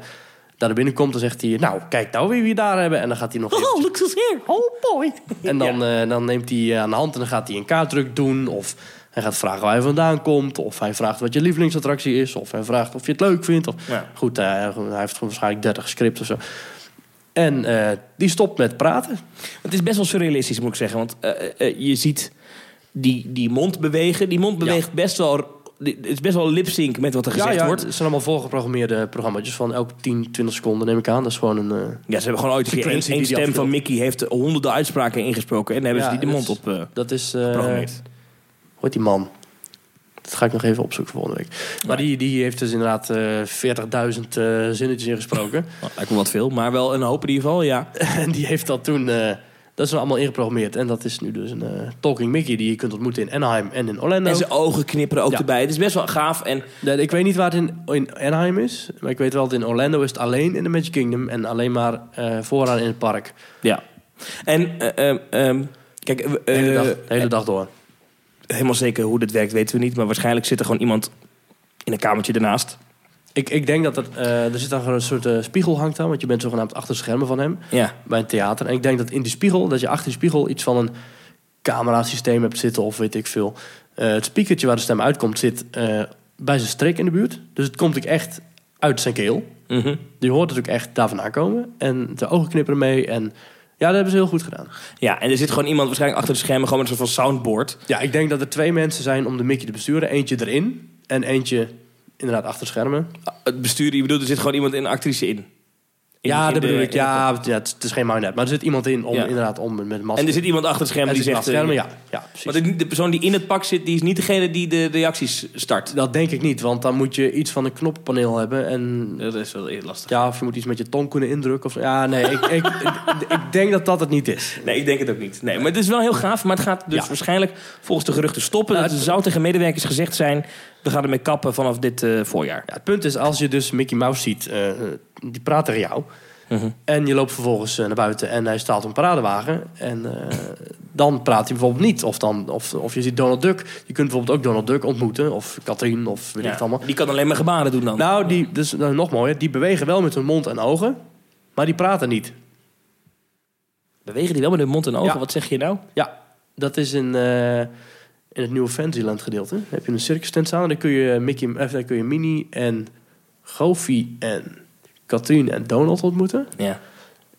daar binnenkomt, dan zegt hij... Nou, kijk nou weer wie we daar hebben. En dan gaat hij nog... Oh, eventjes- look who's here. Oh boy. En dan, eh, dan neemt hij eh, aan de hand en dan gaat hij een kaartdruk doen. Of hij gaat vragen waar hij vandaan komt. Of hij vraagt wat je lievelingsattractie is. Of hij vraagt of je het leuk vindt. Of... Ja. Goed, eh, hij heeft waarschijnlijk 30 scripts of zo. En eh, die stopt met praten. Het is best wel surrealistisch, moet ik zeggen. Want eh, eh, eh, je ziet die, die mond bewegen. Die mond beweegt best wel... die- Het is best wel lip-sync met wat er gezegd wordt. Het zijn allemaal voorgeprogrammeerde programma's van elke 10, 20 seconden neem ik aan. Dat is gewoon een... eh, Ja, ze hebben gewoon ooit een keer één Frequentie één die die stem van afspeelt. Mickey heeft honderden uitspraken ingesproken. En dan hebben Ja, ze die de mond dat- op eh Dat is... eh, geprogrammeerd. Hoe heet die man? Dat ga ik nog even opzoeken voor volgende week. Maar die, die heeft dus inderdaad eh 40.000 eh, zinnetjes [LAUGHS] ingesproken. Nou, lijkt me wat veel, maar wel een hoop in ieder geval, ja. en die heeft dat toen... eh, dat is er allemaal ingeprogrammeerd. En dat is nu dus een eh, Talking Mickey die je kunt ontmoeten in Anaheim en in Orlando. En zijn ogen knipperen ook Ja. erbij. Het is best wel gaaf. En Nee, ik weet niet waar het in, in Anaheim is. Maar ik weet wel dat in Orlando is het alleen in de Magic Kingdom. En alleen maar eh, vooraan in het park. Ja. En eh, ehm, ehm, kijk, eh, De hele, dag, eh, de hele dag door. helemaal zeker hoe dit werkt weten we niet. Maar waarschijnlijk zit er gewoon iemand in een kamertje ernaast. Ik, ik denk dat er, eh, er zit dan gewoon een soort eh, spiegel hangt aan. Want je bent zogenaamd achter de schermen van hem. Ja. bij een theater. En ik denk dat in die spiegel, dat je achter die spiegel iets van een camerasysteem hebt zitten of weet ik veel. Eh, het spiekertje waar de stem uitkomt zit eh, bij zijn strik in de buurt. Dus het komt ook echt uit zijn keel. Mhm. Je hoort het ook echt daar vandaan komen. En de ogen knipperen mee. En ja, dat hebben ze heel goed gedaan. Ja, en er zit gewoon iemand waarschijnlijk achter de schermen, gewoon met een soort van soundboard. Ja, ik denk dat er twee mensen zijn om de Mickey te besturen. Eentje erin en eentje inderdaad achter schermen. Ah, Het bestuur, je bedoelt, er zit gewoon iemand in een actrice in. In- ja, in dat de- bedoel ik. in de- Ja, het- ja, het, is- het is geen mind Maar er zit iemand in om Ja. inderdaad om met een masker. En er zit iemand achter de En schermen er die zit een zegt... achter schermen, eh, ja. ja precies. Maar de, de persoon die in het pak zit, die is niet degene die de reacties start. Dat denk ik niet, want dan moet je iets van een knoppaneel hebben. En Dat is wel eerder lastig. ja, of je moet iets met je tong kunnen indrukken. Of, zo. ja, nee, ik, ik, [LAUGHS] ik, ik denk dat dat het niet is. Nee, ik denk het ook niet. Nee, maar het is wel heel gaaf. Maar het gaat dus Ja. Nou, waarschijnlijk volgens de geruchten stoppen. Dat zou tegen medewerkers gezegd zijn... we gaan ermee kappen vanaf dit eh, voorjaar. Ja, het punt is, als je dus Mickey Mouse ziet, eh, eh, die praat tegen jou. Mhm. En je loopt vervolgens eh, naar buiten en hij staat op een paradewagen. En eh, dan praat hij bijvoorbeeld niet. Of, dan, of, of je ziet Donald Duck. Je kunt bijvoorbeeld ook Donald Duck ontmoeten. Of Katrien, of weet ik Ja, het allemaal. Die kan alleen maar gebaren doen dan. Nou, die, dus, nou, nog mooier. Die bewegen wel met hun mond en ogen. Maar die praten niet. Bewegen die wel met hun mond en ogen? Ja. Wat zeg je nou? Ja, dat is in, eh, in het nieuwe Fantasyland gedeelte. Dan heb je een circus tent staan. en Daar kun je, Mickey, eh, daar kun je Minnie en Goofy en Katoen en Donald ontmoeten. Ja.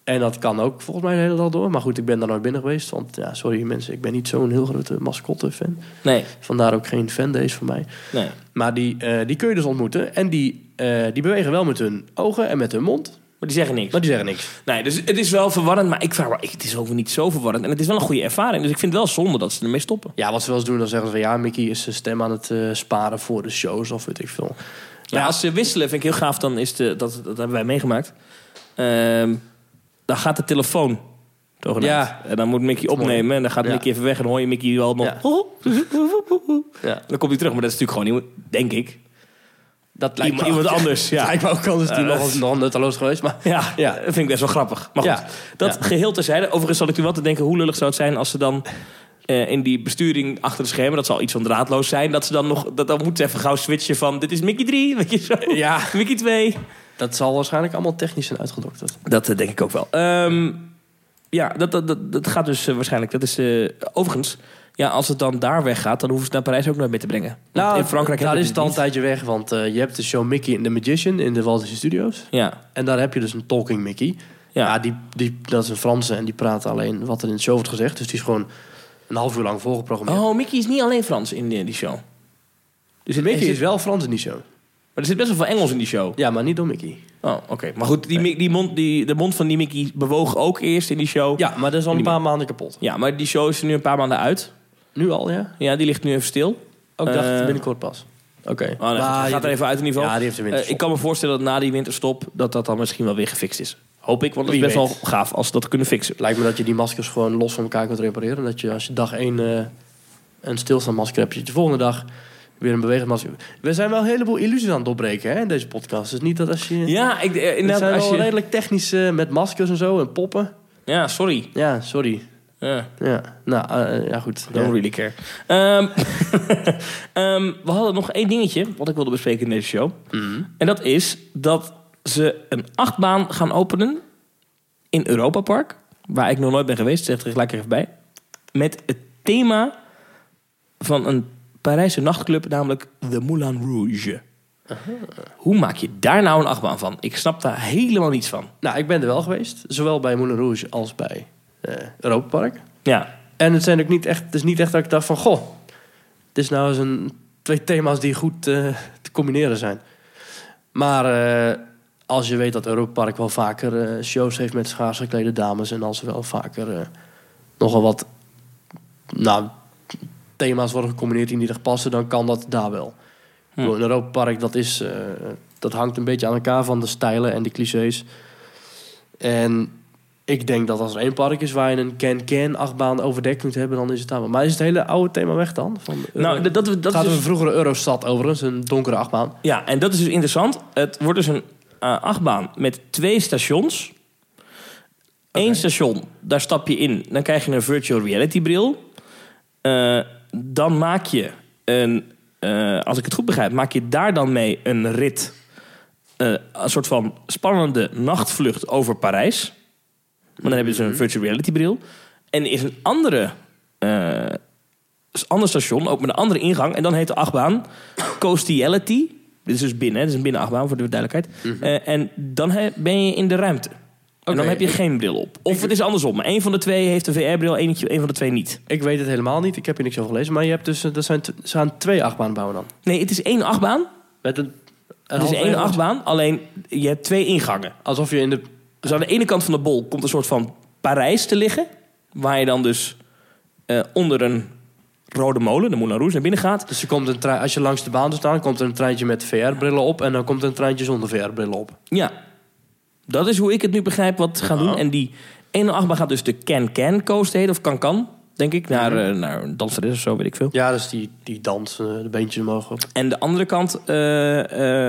En dat kan ook volgens mij de hele dag door. Maar goed, ik ben daar nooit binnen geweest. Want ja, sorry mensen, ik ben niet zo'n heel grote mascotte-fan. Nee, Vandaar ook geen fandays voor mij. nee. Maar die, eh, die kun je dus ontmoeten. En die, eh, die bewegen wel met hun ogen en met hun mond. Maar die zeggen niks. Maar die zeggen niks. Nee, dus het is wel verwarrend. Maar ik vraag me, ik- het is ook niet zo verwarrend. En het is wel een goede ervaring. Dus ik vind het wel zonde dat ze ermee stoppen. Ja, wat ze wel eens doen, dan zeggen ze van... ja, Mickey is zijn stem aan het eh, sparen voor de shows of weet ik veel. Ja, als ze wisselen, vind ik heel gaaf. Dan is de, dat, dat hebben wij meegemaakt. Ehm, dan gaat de telefoon. zogenaamd. Ja. En dan moet Mickey mooi. opnemen. En dan gaat Ja. Mickey even weg. En dan hoor je Mickey wel nog. "Oh." Ja. Ja. Dan komt hij terug. Maar dat is natuurlijk gewoon iemand, denk ik. [LAUGHS] Dat Iemand, iemand anders. Ja, Ja. ik wou ook anders die Ja, dat nog, is- nog nutteloos geweest. Maar Ja, Ja. dat vind ik best wel grappig. Maar goed, Ja. dat Ja. geheel terzijde. Overigens zat ik toen wel te denken hoe lullig zou het zijn als ze dan eh, in die besturing achter de schermen, dat zal iets van draadloos zijn, dat ze dan nog, dat dan moeten ze even gauw switchen van dit is Mickey 3, weet je zo, ja, Mickey 2. dat zal waarschijnlijk allemaal technisch zijn uitgedokterd. Dat eh, denk ik ook wel. Ehm, ja, dat, dat, dat, dat gaat dus eh, waarschijnlijk. Dat is eh, overigens, ja, als het dan daar weggaat, dan hoeven ze het naar Parijs ook nooit mee te brengen. Want in Frankrijk daar hebben Nou, is ze het al een niet. tijdje weg. Want eh, je hebt de show Mickey and the Magician in de Walt Disney Studios. Ja, En daar heb je dus een talking Mickey. Ja, ja. die, die, dat is een Franse en die praat alleen wat er in de show wordt gezegd. Dus die is gewoon een half uur lang voorgeprogrammeerd. Oh, Mickey is niet alleen Frans in eh, die show. dus Mickey zit- is wel Frans in die show. Maar er zit best wel veel Engels in die show. Ja, maar niet door Mickey. Oh, oké. Maar goed, die, Mi- die mond, die, de mond van die Mickey bewoog ook eerst in die show. Ja, maar dat is al een paar maanden kapot. Ja, maar die show is er nu een paar maanden uit. Nu al, ja? Ja, die ligt nu even stil. Ook dacht Eh, binnenkort pas. Oké. Oh, nee, Maar goed, je- gaat er even uit in ieder Ja, geval. die heeft de winterstop. Eh, ik kan me voorstellen dat na die winterstop dat dat dan misschien wel weer gefixt is. Hoop ik, want het is Wie best wel weet. gaaf als ze dat kunnen fixen. Lijkt me dat je die maskers gewoon los van elkaar kunt repareren. Dat je als je dag één eh, een stilstaanmasker hebt, je de volgende dag weer een bewegend masker. We zijn wel een heleboel illusies aan het doorbreken hè, in deze podcast. Dus niet dat als je... Ja, ik, eh, het inderdaad. zijn Als wel je, redelijk technisch eh, met maskers en zo en poppen. ja, sorry. Ja, sorry. Ja. Ja, nou, eh, eh, ja goed. Don't Ja. really care. Ehm, [LAUGHS] ehm, we hadden nog één dingetje wat ik wilde bespreken in deze show. En dat is dat ze een achtbaan gaan openen in Europa Park. Waar ik nog nooit ben geweest, zegt er gelijk even bij. Met het thema van een Parijse nachtclub, namelijk de Moulin Rouge. Hoe maak je daar nou een achtbaan van? Ik snap daar helemaal niets van. Nou, ik ben er wel geweest. Zowel bij Moulin Rouge als bij eh Europa Park. Ja, En het, zijn ook niet echt, het is niet echt dat ik dacht van... Goh, het is nou eens een, twee thema's die goed eh, te combineren zijn. Maar eh, als je weet dat Europa Park wel vaker eh, shows heeft met schaars geklede dames... en als er wel vaker eh, nogal wat nou, thema's worden gecombineerd die niet echt passen... dan kan dat daar wel. Hm. Een Europa Park, dat, is, eh, dat hangt een beetje aan elkaar van de stijlen en de clichés. En ik denk dat als er één park is waar je een can-can achtbaan overdekt moet hebben, dan is het daar. wel. Maar is het hele oude thema weg dan? Van de Euro- nou, dat, dat, dat het gaat is over dus een vroegere Eurostad overigens, een donkere achtbaan. Ja, en dat is dus interessant. Het wordt dus een eh, achtbaan met twee stations. Eén station, daar stap je in. Dan krijg je een virtual reality bril. Eh, dan maak je een... eh, als ik het goed begrijp, maak je daar dan mee een rit. eh, een soort van spannende nachtvlucht over Parijs. Maar dan heb je dus Mhm. een virtual reality bril. En er is een andere... eh, s- ander station, ook met een andere ingang. En dan heet de achtbaan Coastiality. Dit is dus binnen, hè? dit is een binnenachtbaan voor de duidelijkheid. Eh, en dan he- ben je in de ruimte. en dan Mhm. Oké, heb je ik- geen bril op. Of het is andersom. Een van de twee heeft een VR-bril, eentje, een van de twee niet. Ik weet het helemaal niet, ik heb hier niks over gelezen. Maar je hebt dus, eh, dat zijn t- ze gaan twee achtbanen bouwen dan. Nee, het is één achtbaan. Met een, een Het is één halfweg- achtbaan, alleen je hebt twee ingangen. Alsof je in de... Dus aan de ene kant van de bol komt een soort van Parijs te liggen. Waar je dan dus eh, onder een rode molen, de Moulin Rouge, naar binnen gaat. Dus er komt een trein, als je langs de baan staat, komt er een treintje met VR-brillen op... en dan komt er een treintje zonder VR-brillen op. Ja, dat is hoe ik het nu begrijp wat ze gaan doen. En die ene achtbaan gaat dus de Can Can Coast heten, of Can Can, denk ik, naar, eh, naar een danseres of zo, weet ik veel. Ja, dus die, die dans, eh, de beentjes omhoog op. En de andere kant eh,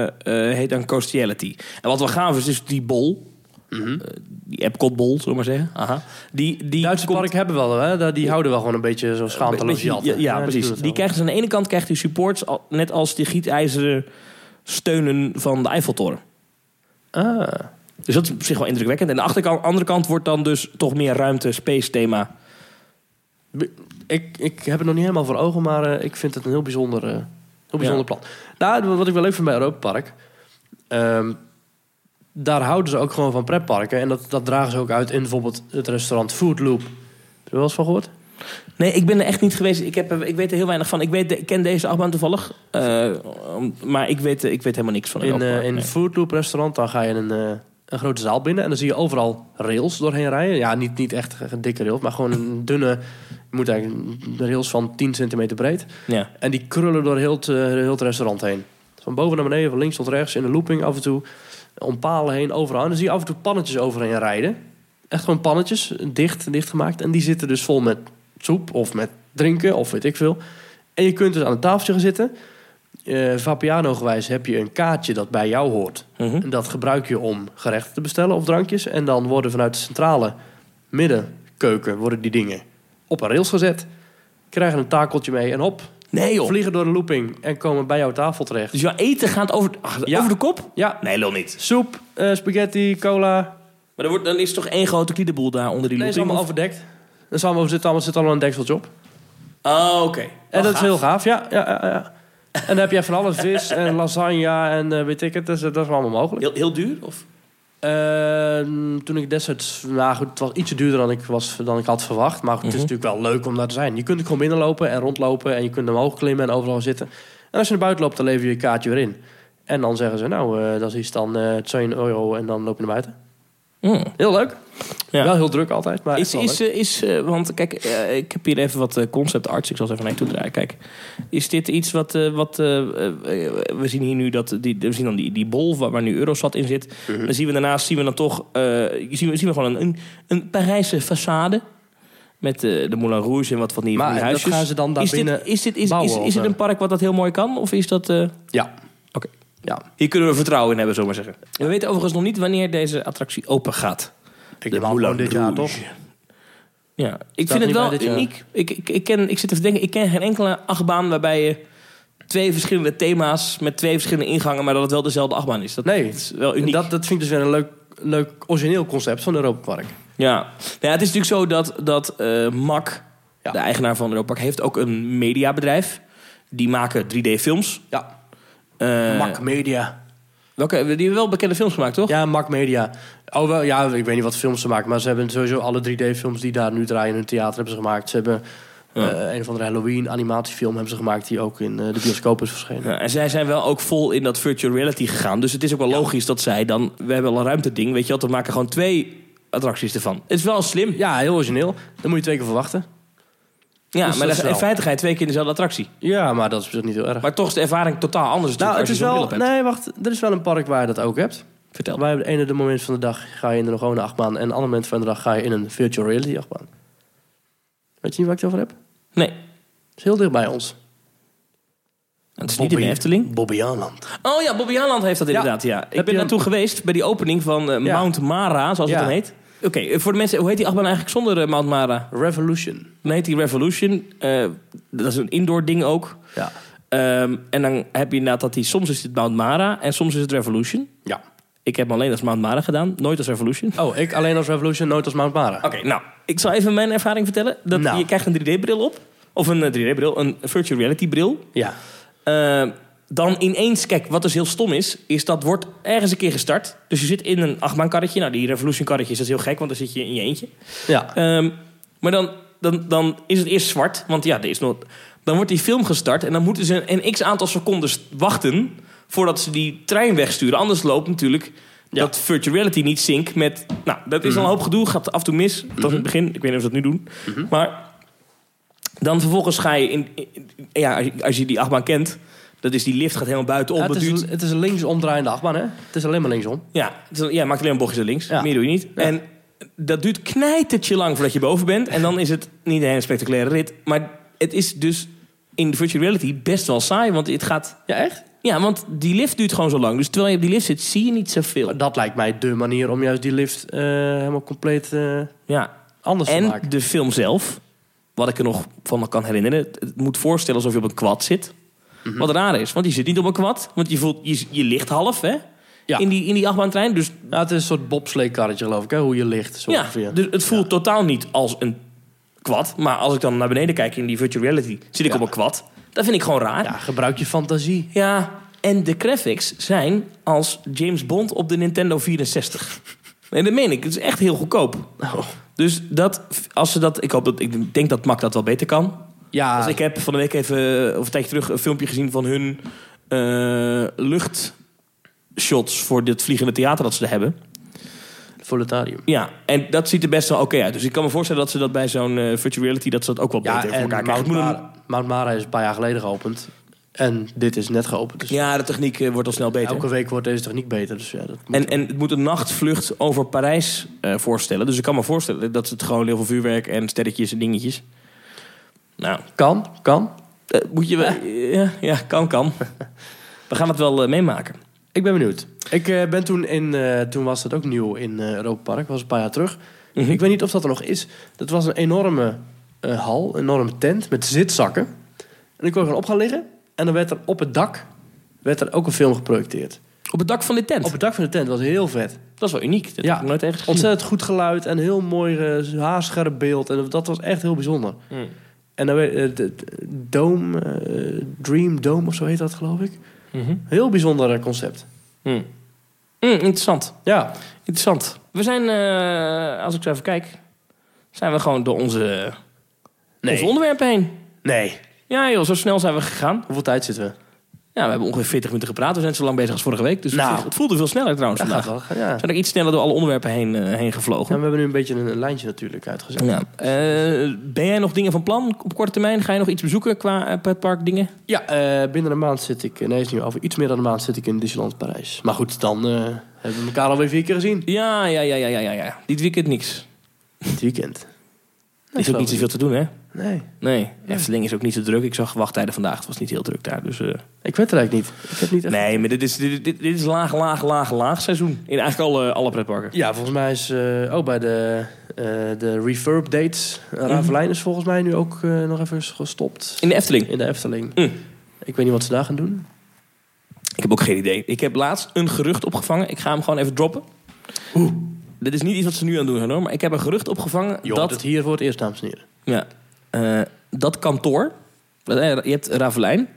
eh, eh, heet dan Coastiality. En wat we gaan is dus die bol, Mhm. eh, die Epcot-bol, zullen we maar zeggen. Aha. Die, die Duitse komt- parken hebben wel, hè? daar- Die houden wel gewoon een beetje zo schaamteloos beetje- jat. ja, ja, die doen precies. het Die wel. krijgt dus aan de ene kant krijgt hij supports, al- net als die gietijzeren steunen van de Eiffeltoren. Ah. Dus dat is op zich wel indrukwekkend. En de achterkant, andere kant wordt dan dus toch meer ruimte, space thema. Ik, ik heb het nog niet helemaal voor ogen, maar eh, ik vind het een heel bijzonder, eh, heel Ja. bijzonder plan. Nou, wat ik wel leuk vind bij Europa Park. ehm, daar houden ze ook gewoon van pretparken. En dat, dat dragen ze ook uit in bijvoorbeeld het restaurant Food Loop. Heb je er wel eens van gehoord? Nee, ik ben er echt niet geweest. Ik, heb, er- ik weet er heel weinig van. Ik, weet, ik ken deze achtbaan toevallig. eh, om- maar ik weet, ik weet helemaal niks van In, Europa. eh in Nee. Food Loop restaurant, dan ga je in een, eh, een grote zaal binnen. En dan zie je overal rails doorheen rijden. Ja, niet, niet echt een dikke rails, maar gewoon een [LAUGHS] dunne... Je moet eigenlijk een rails van 10 centimeter breed. Ja. En die krullen door heel het, eh, heel het restaurant heen. Van boven naar beneden, van links tot rechts, in een looping af en toe. Om palen heen, overal. En dan zie je af en toe pannetjes overheen rijden. Echt gewoon pannetjes, dicht, dichtgemaakt. En die zitten dus vol met soep of met drinken of weet ik veel. En je kunt dus aan een tafeltje gaan zitten. Eh Vapiano-gewijs heb je een kaartje dat bij jou hoort. Mhm. En dat gebruik je om gerechten te bestellen of drankjes. En dan worden vanuit de centrale middenkeuken worden die dingen op een rails gezet. Krijgen een takeltje mee en op. Nee joh. Vliegen door een looping en komen bij jouw tafel terecht. Dus jouw eten gaat over, ach, Ja. over de kop? Ja, Nee, lul niet. soep, eh, spaghetti, cola. Maar er wordt, dan is toch één grote kliederboel daar onder die Nee, is looping, allemaal of- overdekt. Er zit allemaal, zit allemaal, zit allemaal een dekseltje op. Oh, oké. En Oh, dat gaaf. is heel gaaf, ja. ja, ja, ja. En dan heb je van alles vis [LAUGHS] en lasagne en eh, weet ik het. Dus, eh, dat is allemaal mogelijk. heel, heel duur? Of? Ehm, toen ik destijds... Nou goed, het was ietsje duurder dan ik, was, dan ik had verwacht. Maar goed, het is Mhm. natuurlijk wel leuk om daar te zijn. Je kunt er gewoon binnenlopen en rondlopen. En je kunt omhoog klimmen en overal zitten. En als je naar buiten loopt, dan lever je je kaartje weer in. En dan zeggen ze, nou, eh, dat is dan eh 2 euro en dan loop je naar buiten. Mm. Heel leuk. Ja. Ah, Wel heel druk altijd, maar Is, is, eh, is, eh, want kijk, eh, ik heb hier even wat eh, concept arts. Ik zal ze even naar je toe draaien. Kijk, is dit iets wat... eh, wat eh, eh, we zien hier nu dat... Die, we zien dan die, die bol waar, waar nu Eurosat in zit. Mhm. Dan zien we daarnaast zien we dan toch... eh, zien, we, zien we gewoon een, een, een Parijse façade. Met eh, de Moulin Rouge en wat van die, Maar van die dat huisjes. gaan ze dan daar is dit, binnen is, dit, is, bouwen, is, is of, het eh? een park wat dat heel mooi kan? Of is dat... eh, Ja. Oké. Ja, Hier kunnen we vertrouwen in hebben, zomaar zeggen. We weten overigens nog niet wanneer deze attractie open gaat. ik De heb al Moulin dit jaar toch? Rouge. Ja, ik vind er het niet wel bij dit jaar? uniek. Ik, ik, ik, ken, ik zit even te denken, ik ken geen enkele achtbaan waarbij je twee verschillende thema's met twee verschillende ingangen, maar dat het wel dezelfde achtbaan is. Dat, Nee, dat is wel uniek. Dat, dat vind ik dus weer een leuk, leuk origineel concept van Europa Park. Ja. Nou ja, het is natuurlijk zo dat, dat eh, MAC, Ja. de eigenaar van Europa Park, heeft ook een mediabedrijf. Die maken 3D-films. Ja, Eh, Mac Media. Welke, die hebben wel bekende films gemaakt, toch? Ja, Mac Media. Oh, wel, ja, ik weet niet wat films ze maken, maar ze hebben sowieso alle 3D-films die daar nu draaien in hun theater hebben ze gemaakt. Ze hebben Ja. eh, een of andere Halloween-animatiefilm hebben ze gemaakt die ook in eh, de bioscoop is verschenen. Ja, en zij zijn wel ook vol in dat virtual reality gegaan. Dus het is ook wel logisch dat zij dan... We hebben al een ruimteding, weet je wat? We maken gewoon twee attracties ervan. Het is wel slim. Ja, heel origineel. Dan moet je twee keer verwachten. Ja, Dus maar dat dat is wel- is in feite ga je twee keer in dezelfde attractie. Ja, maar dat is dus niet heel erg. Maar toch is de ervaring totaal anders nou, het natuurlijk is als je zo'n wel... bril op hebt. Nee, wacht. Er is wel een park waar je dat ook hebt. Vertel. Bij het ene de moment van de dag ga je in een gewone achtbaan... en een ander moment van de dag ga je in een virtual reality achtbaan. Weet je niet waar ik het over heb? Het Nee, is heel dicht bij ons. het is niet in de Efteling. Bobby Aanland. Oh ja, Bobby Aanland heeft dat inderdaad, ja. Ik eh, Heb ben je- naartoe geweest bij die opening van eh, Ja. Mount Mara, zoals Ja. het dan heet. Oké, eh, voor de mensen, hoe heet die achtbaan eigenlijk zonder eh, Mount Mara? Revolution. Dan heet die Revolution. eh, dat is een indoor ding ook. Ja. Ehm, en dan heb je inderdaad dat die, soms is het Mount Mara en soms is het Revolution. Ja. Ik heb hem alleen als Mount Mara gedaan, nooit als Revolution. Oh, ik alleen als Revolution, nooit als Mount Mara. Oké, nou, ik zal even mijn ervaring vertellen. Dat Nou. Je krijgt een 3D-bril op, of een eh, 3D-bril, een virtual reality-bril. Ja. Eh, dan ineens, kijk, wat dus heel stom is, is dat wordt ergens een keer gestart. Dus je zit in een achtbaankarretje. Nou, die Revolution-karretje is dat is heel gek, want dan zit je in je eentje. Ja. Ehm, maar dan, dan, dan is het eerst zwart, want ja, er is nog... Dan wordt die film gestart en dan moeten ze een, x aantal seconden st- wachten... voordat ze die trein wegsturen. Anders loopt natuurlijk Ja. dat virtual reality niet sync met... Nou, dat is al een hoop gedoe, gaat af en toe mis. Dat was in het begin, ik weet niet of ze dat nu doen. Maar dan vervolgens ga je in... in- in- ja, als je, als je die achtbaan kent, dat is die lift gaat helemaal buitenop. Ja, dat het, duurt- is, het is een linksomdraaiende achtbaan, hè? Het is alleen maar linksom. ja, het is- ja, maakt alleen een bochtje naar links. Ja. Meer doe je niet. Ja. En dat duurt knijtertje lang voordat je boven bent. En dan is het niet een hele spectaculaire rit. Maar het is dus in de virtual reality best wel saai. Want het gaat... Ja, echt? Ja, want die lift duurt gewoon zo lang. Dus terwijl je op die lift zit, zie je niet zoveel. Maar dat lijkt mij dé manier om juist die lift eh, helemaal compleet eh, Ja. anders te En maken. de film zelf, wat ik er nog van me kan herinneren... het- Het moet voorstellen alsof je op een kwad zit. Mhm. Wat raar is, want je zit niet op een kwad. Want je, voelt, je, je ligt half, hè? Ja. In, die, in die achtbaantrein. Dus Ja, Nou, het is een soort bobsleekarretje, geloof ik, hè? Hoe je ligt, zo Ja, ongeveer. dus het voelt totaal niet als een kwad. Maar als ik dan naar beneden kijk in die virtual reality, zit ik Ja. op een kwad. Dat vind ik gewoon raar. Ja, Ja. gebruik je fantasie. en de graphics zijn als James Bond op de Nintendo 64. En dat meen ik, het is echt heel goedkoop. Dus dat, als ze dat, ik, hoop dat, ik denk dat Mac dat wel beter kan. Ja, Dus ik heb van de week even, eh, of een tijdje terug, een filmpje gezien van hun eh, luchtshots voor dit vliegende theater dat ze er hebben. Voletarium. Ja, en dat ziet er best wel oké uit. Dus ik kan me voorstellen dat ze dat bij zo'n eh, virtual reality... dat ze dat ook wel beter Ja, voor elkaar en krijgen. Mount Het moet een- Mara, Mount Mara is een paar jaar geleden geopend. En dit is net geopend. Dus ja, de techniek eh, wordt al snel beter. elke week wordt deze techniek beter. Dus ja, dat moet- En, en het moet een nachtvlucht over Parijs eh, voorstellen. Dus ik kan me voorstellen dat het gewoon heel veel vuurwerk... en sterretjes en dingetjes. Nou, Kan, kan. eh, moet je wel... Ja, ja, kan, kan. We gaan het wel eh, meemaken. Ik ben benieuwd. Ik eh, ben toen in, eh, toen was dat ook nieuw in eh Europa Park, was een paar jaar terug. Mhm. Ik weet niet of dat er nog is. Dat was een enorme eh, hal, een enorme tent met zitzakken. En ik kon gewoon op gaan liggen. En dan werd er op het dak werd er ook een film geprojecteerd. Op het dak van dit tent. Op het dak van de tent was heel vet. Dat is wel uniek. Dat Ja. heb ik nooit ergens gezien. Ontzettend goed geluid en heel mooi eh, haarscherp beeld. En dat was echt heel bijzonder. Mm. En dan werd eh, de- de- Dome, eh, Dream Dome of zo heet dat geloof ik. Mhm. Heel bijzonder eh, concept. Mm. Mm, interessant. Ja, Interessant. We zijn, eh, als ik zo even kijk, zijn we gewoon door onze, Nee. onze onderwerpen heen. nee. Ja joh, zo snel zijn we gegaan. Hoeveel tijd zitten we? Ja, we hebben ongeveer 40 minuten gepraat. We zijn zo lang bezig als vorige week. Dus het Nou. voelde- het voelde veel sneller trouwens Dat gaat vandaag. wel. Ja. We zijn ook iets sneller door alle onderwerpen heen, eh, heen Ja, gevlogen. we hebben nu een beetje een, een lijntje natuurlijk uitgezet. Ja. Eh, ben jij nog dingen van plan op korte termijn? Ga je nog iets bezoeken qua eh, pretpark dingen? Ja, eh, binnen een maand zit ik, nee, is nu over iets meer dan een maand zit ik in Disneyland Parijs. Maar goed, dan eh, hebben we elkaar alweer vier keer gezien. Ja, ja, ja, ja, ja, ja, ja. Dit weekend niks. Dit weekend. Er is ook geloof niet zoveel te doen, hè? Nee, Nee, Efteling is ook niet zo druk. Ik zag wachttijden vandaag. Het was niet heel druk daar. Dus, eh, ik weet het eigenlijk niet. Ik heb niet echt... nee, maar dit is, dit, dit, dit is laag, laag, laag, laag seizoen. In eigenlijk alle, alle pretparken. Ja, volgens mij is eh, ook bij de, eh, de refurb dates. Ravelijn is volgens mij nu ook eh, nog even gestopt. In de Efteling. In de Efteling. Mm. Ik weet niet wat ze daar gaan doen. Ik heb ook geen idee. Ik heb laatst een gerucht opgevangen. Ik ga hem gewoon even droppen. Dit is niet iets wat ze nu aan het doen zijn hoor. Maar ik heb een gerucht opgevangen Joh, dat... dat, hier voor het eerst, dames en heren. ja, eh, dat kantoor. eh, Je hebt Ravelijn.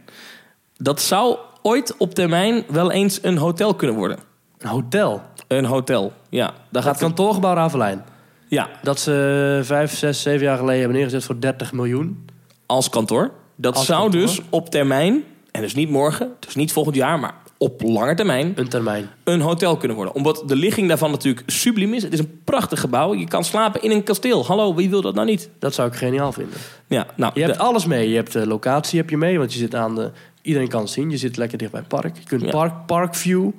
Dat zou ooit op termijn wel eens een hotel kunnen worden. Een hotel. Een hotel, ja. Gaat Daar gaat kan... kantoorgebouw Ravelijn. Ja, Dat ze eh, vijf, zes, zeven jaar geleden hebben neergezet voor 30 miljoen. als kantoor. Dat Als zou kantoor. dus op termijn, en dus niet morgen, dus niet volgend jaar, maar op lange termijn Een termijn. een hotel kunnen worden. Omdat de ligging daarvan natuurlijk subliem is. Het is een prachtig gebouw. Je kan slapen in een kasteel. Hallo, wie wil dat nou niet? Dat zou ik geniaal vinden. Ja, nou, Je hebt de- alles mee. Je hebt de locatie heb je mee, want je zit aan de... Iedereen kan het zien. Je zit lekker dicht bij het park. Je kunt Ja. park, parkview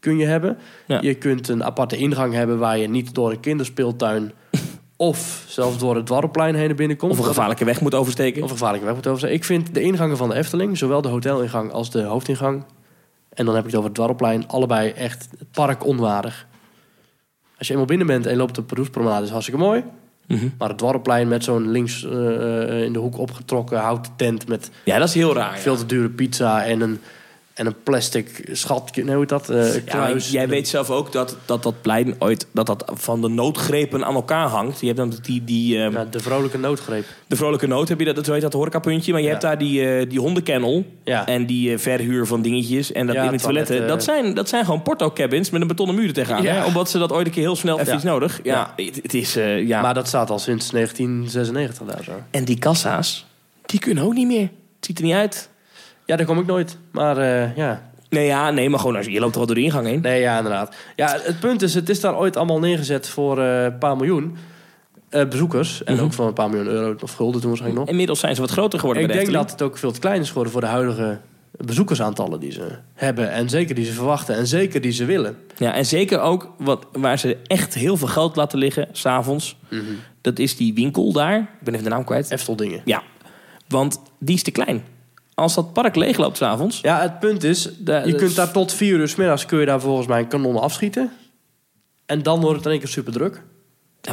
kun je hebben. Ja. Je kunt een aparte ingang hebben waar je niet door een kinderspeeltuin... [LAUGHS] of zelfs door het dwarrelplein heen naar binnen komt. of een Dat- gevaarlijke weg moet oversteken. Of een gevaarlijke weg moet over zijn. Ik vind de ingangen van de Efteling, zowel de hotelingang als de hoofdingang... en dan heb ik het over het Dwarrelplein, allebei echt het park onwaardig. Als je eenmaal binnen bent en je loopt op de Roespromenade is hartstikke mooi... Mhm. maar het Dwarrelplein met zo'n links eh, eh, in de hoek opgetrokken houten tent... met Ja, dat is heel raar. Ah, ja. veel te dure pizza en een, en een plastic schatje, nee, hoe heet dat? Eh Ja, maar kluis. jij weet zelf ook dat dat, dat plein ooit dat dat van de noodgrepen aan elkaar hangt. Je hebt dan die, die, ehm, Ja, de vrolijke noodgreep. de vrolijke nood, heb je dat, dat, zo heet dat horecapuntje. Maar je Ja. hebt daar die, eh, die hondenkennel Ja. en die eh, verhuur van dingetjes en dat Ja, in de toiletten. toiletten. Dat, zijn, dat zijn gewoon porto-cabins met een betonnen muur er tegenaan. Ja. Hè? Omdat ze dat ooit een keer heel snel even Ja. iets nodig. Ja, Het, het is... eh, ja. Maar dat staat al sinds 1996 daar zo. en die kassa's, die kunnen ook niet meer. Het ziet er niet uit. Ja, daar kom ik nooit. Maar eh, ja, Nee, ja, nee, maar gewoon, als je, je loopt toch wel door de ingang heen. Nee, ja, inderdaad. Ja, het punt is, het is daar ooit allemaal neergezet voor eh, een paar miljoen eh, bezoekers. En Mhm. ook voor een paar miljoen euro of gulden toen waarschijnlijk nog. Inmiddels zijn ze wat groter geworden. Ik bij de denk dat Efteling. het ook veel te klein is geworden voor de huidige bezoekersaantallen die ze hebben. En zeker die ze verwachten en zeker die ze willen. Ja, en zeker ook wat, waar ze echt heel veel geld laten liggen, s'avonds. Dat is die winkel daar. Ik ben even de naam kwijt. Eftel dingen. Mhm. Ja, want die is te klein. Als dat park leegloopt s'avonds... Ja, het punt is, Da- je dat- kunt daar tot vier uur s middags kun je daar volgens mij een kanon afschieten. En dan wordt het in één keer super druk. Ja,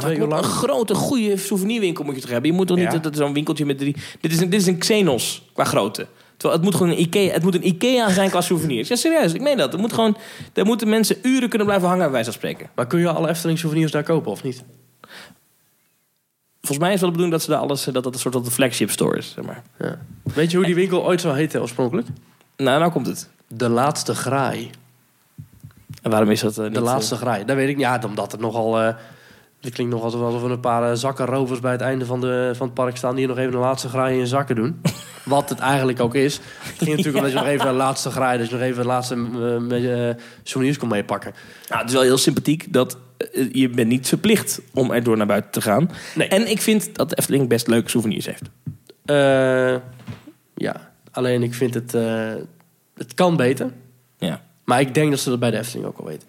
maar Twee uur een lang. grote, goede souvenirwinkel moet je toch hebben? Je moet toch niet Ja. dat- dat zo'n winkeltje met drie... Dit is, een, dit is een Xenos qua grootte. Terwijl het moet gewoon een Ikea, het moet een Ikea zijn qua souvenirs. Ja, serieus, ik meen dat. Het moet gewoon, daar moeten mensen uren kunnen blijven hangen, bij wijze van spreken. Maar kun je alle Efteling souvenirs daar kopen of niet? Volgens mij is wel de bedoeling dat ze daar alles... Dat dat een soort van de flagship store is, zeg maar. Ja. Weet je hoe die winkel ooit zou heten oorspronkelijk? Nou, nou komt het. De Laatste Graai. En waarom is dat eh, niet... De eh, laatste graai. Dat weet ik niet. Ja, omdat het nogal. eh het klinkt nog alsof alsof er een paar eh, zakken rovers bij het einde van, de, van het park staan. die nog even de laatste graai in hun zakken [LAUGHS] doen. Wat het eigenlijk ook is. Het ging natuurlijk omdat je nog even de laatste graai. dus nog even de laatste eh, me- eh, souvenirs kon meepakken. Nou, het is wel heel sympathiek dat eh, je bent niet verplicht om erdoor naar buiten te gaan. Nee. En ik vind dat de Efteling best leuke souvenirs heeft. Eh, ja, alleen ik vind het. eh, het kan beter. Ja. Maar ik denk dat ze dat bij de Efteling ook al weten.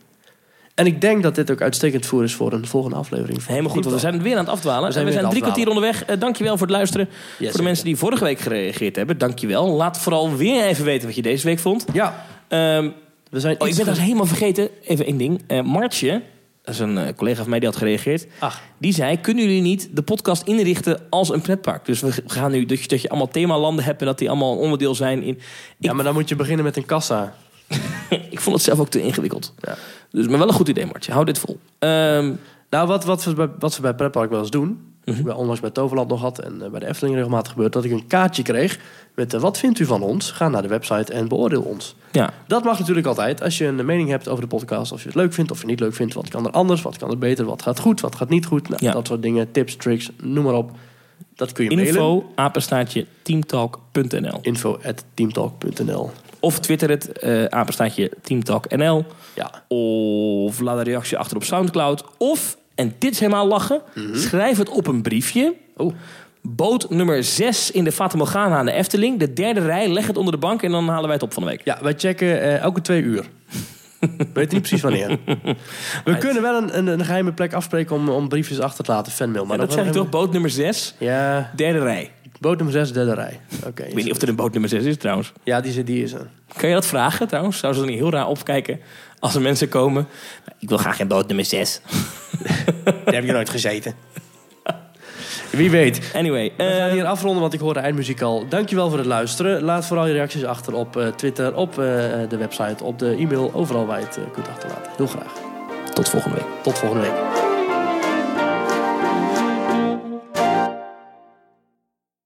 En ik denk dat dit ook uitstekend voer is voor een volgende aflevering. van Helemaal goed, want we zijn weer aan het afdwalen. We en zijn we weer zijn aan drie het kwartier onderweg. Eh, dankjewel voor het luisteren. voor de zeker. mensen die vorige week gereageerd hebben, dankjewel. Laat vooral weer even weten wat je deze week vond. Ja, Ehm, we zijn. oh, ik iets ben dat ge- helemaal vergeten. Even één ding. Eh, Martje, dat is een eh, collega van mij die had gereageerd. Ach, Die zei, kunnen jullie niet de podcast inrichten als een pretpark? Dus we g- gaan nu dat je, dat je allemaal themalanden hebt... en dat die allemaal een onderdeel zijn in... Ik, ja, maar dan moet je beginnen met een kassa. ik [LAUGHS] vond het zelf ook te ingewikkeld. Ja. Dus, maar wel een goed idee, Martje. Hou dit vol. Ehm, Nou, wat, wat, we bij, wat ze bij Pretpark wel eens doen... wat ik bij onlangs bij Toverland nog had en eh, bij de Efteling regelmatig gebeurt... dat ik een kaartje kreeg met eh, wat vindt u van ons? Ga naar de website en beoordeel ons. ja. Dat mag natuurlijk altijd. Als je een mening hebt over de podcast, of je het leuk vindt of je het niet leuk vindt... wat kan er anders, wat kan er beter, wat gaat goed, wat gaat niet goed... Nou, Ja. dat soort dingen, tips, tricks, noem maar op. Dat kun je mailen. Info, apenstaartje, teamtalk.nl. Info at teamtalk.nl Of twitter het, eh apenstaartje Teamtalk NL. Ja. Of laat een reactie achter op Soundcloud. Of, en dit is helemaal lachen, schrijf het op een briefje. Mhm. Oh. Boot nummer 6 in de Fata Morgana aan de Efteling. De derde rij, leg het onder de bank en dan halen wij het op van de week. Ja, wij checken eh, elke twee uur. [LAUGHS] Weet niet precies wanneer. [LAUGHS] We kunnen wel een, een, een geheime plek afspreken om, om briefjes achter te laten, fanmail. Maar Maar dat zeg ik toch, boot nummer 6, Ja, derde rij. boot nummer 6, derde rij. Oké. Ik weet niet of er een boot nummer 6 is trouwens. Ja, die, is- die is er. Kan je dat vragen trouwens? Zou ze dan niet heel raar opkijken als er mensen komen? Ik wil graag geen boot nummer 6. Daar heb je nooit gezeten. [LAUGHS] Wie weet. Anyway, We eh, gaan hier afronden, want ik hoor de eindmuziek al. Dankjewel voor het luisteren. Laat vooral je reacties achter op eh, Twitter, op eh, de website, op de e-mail. Overal waar je het eh, kunt achterlaten. Heel graag. tot volgende week. Tot volgende week.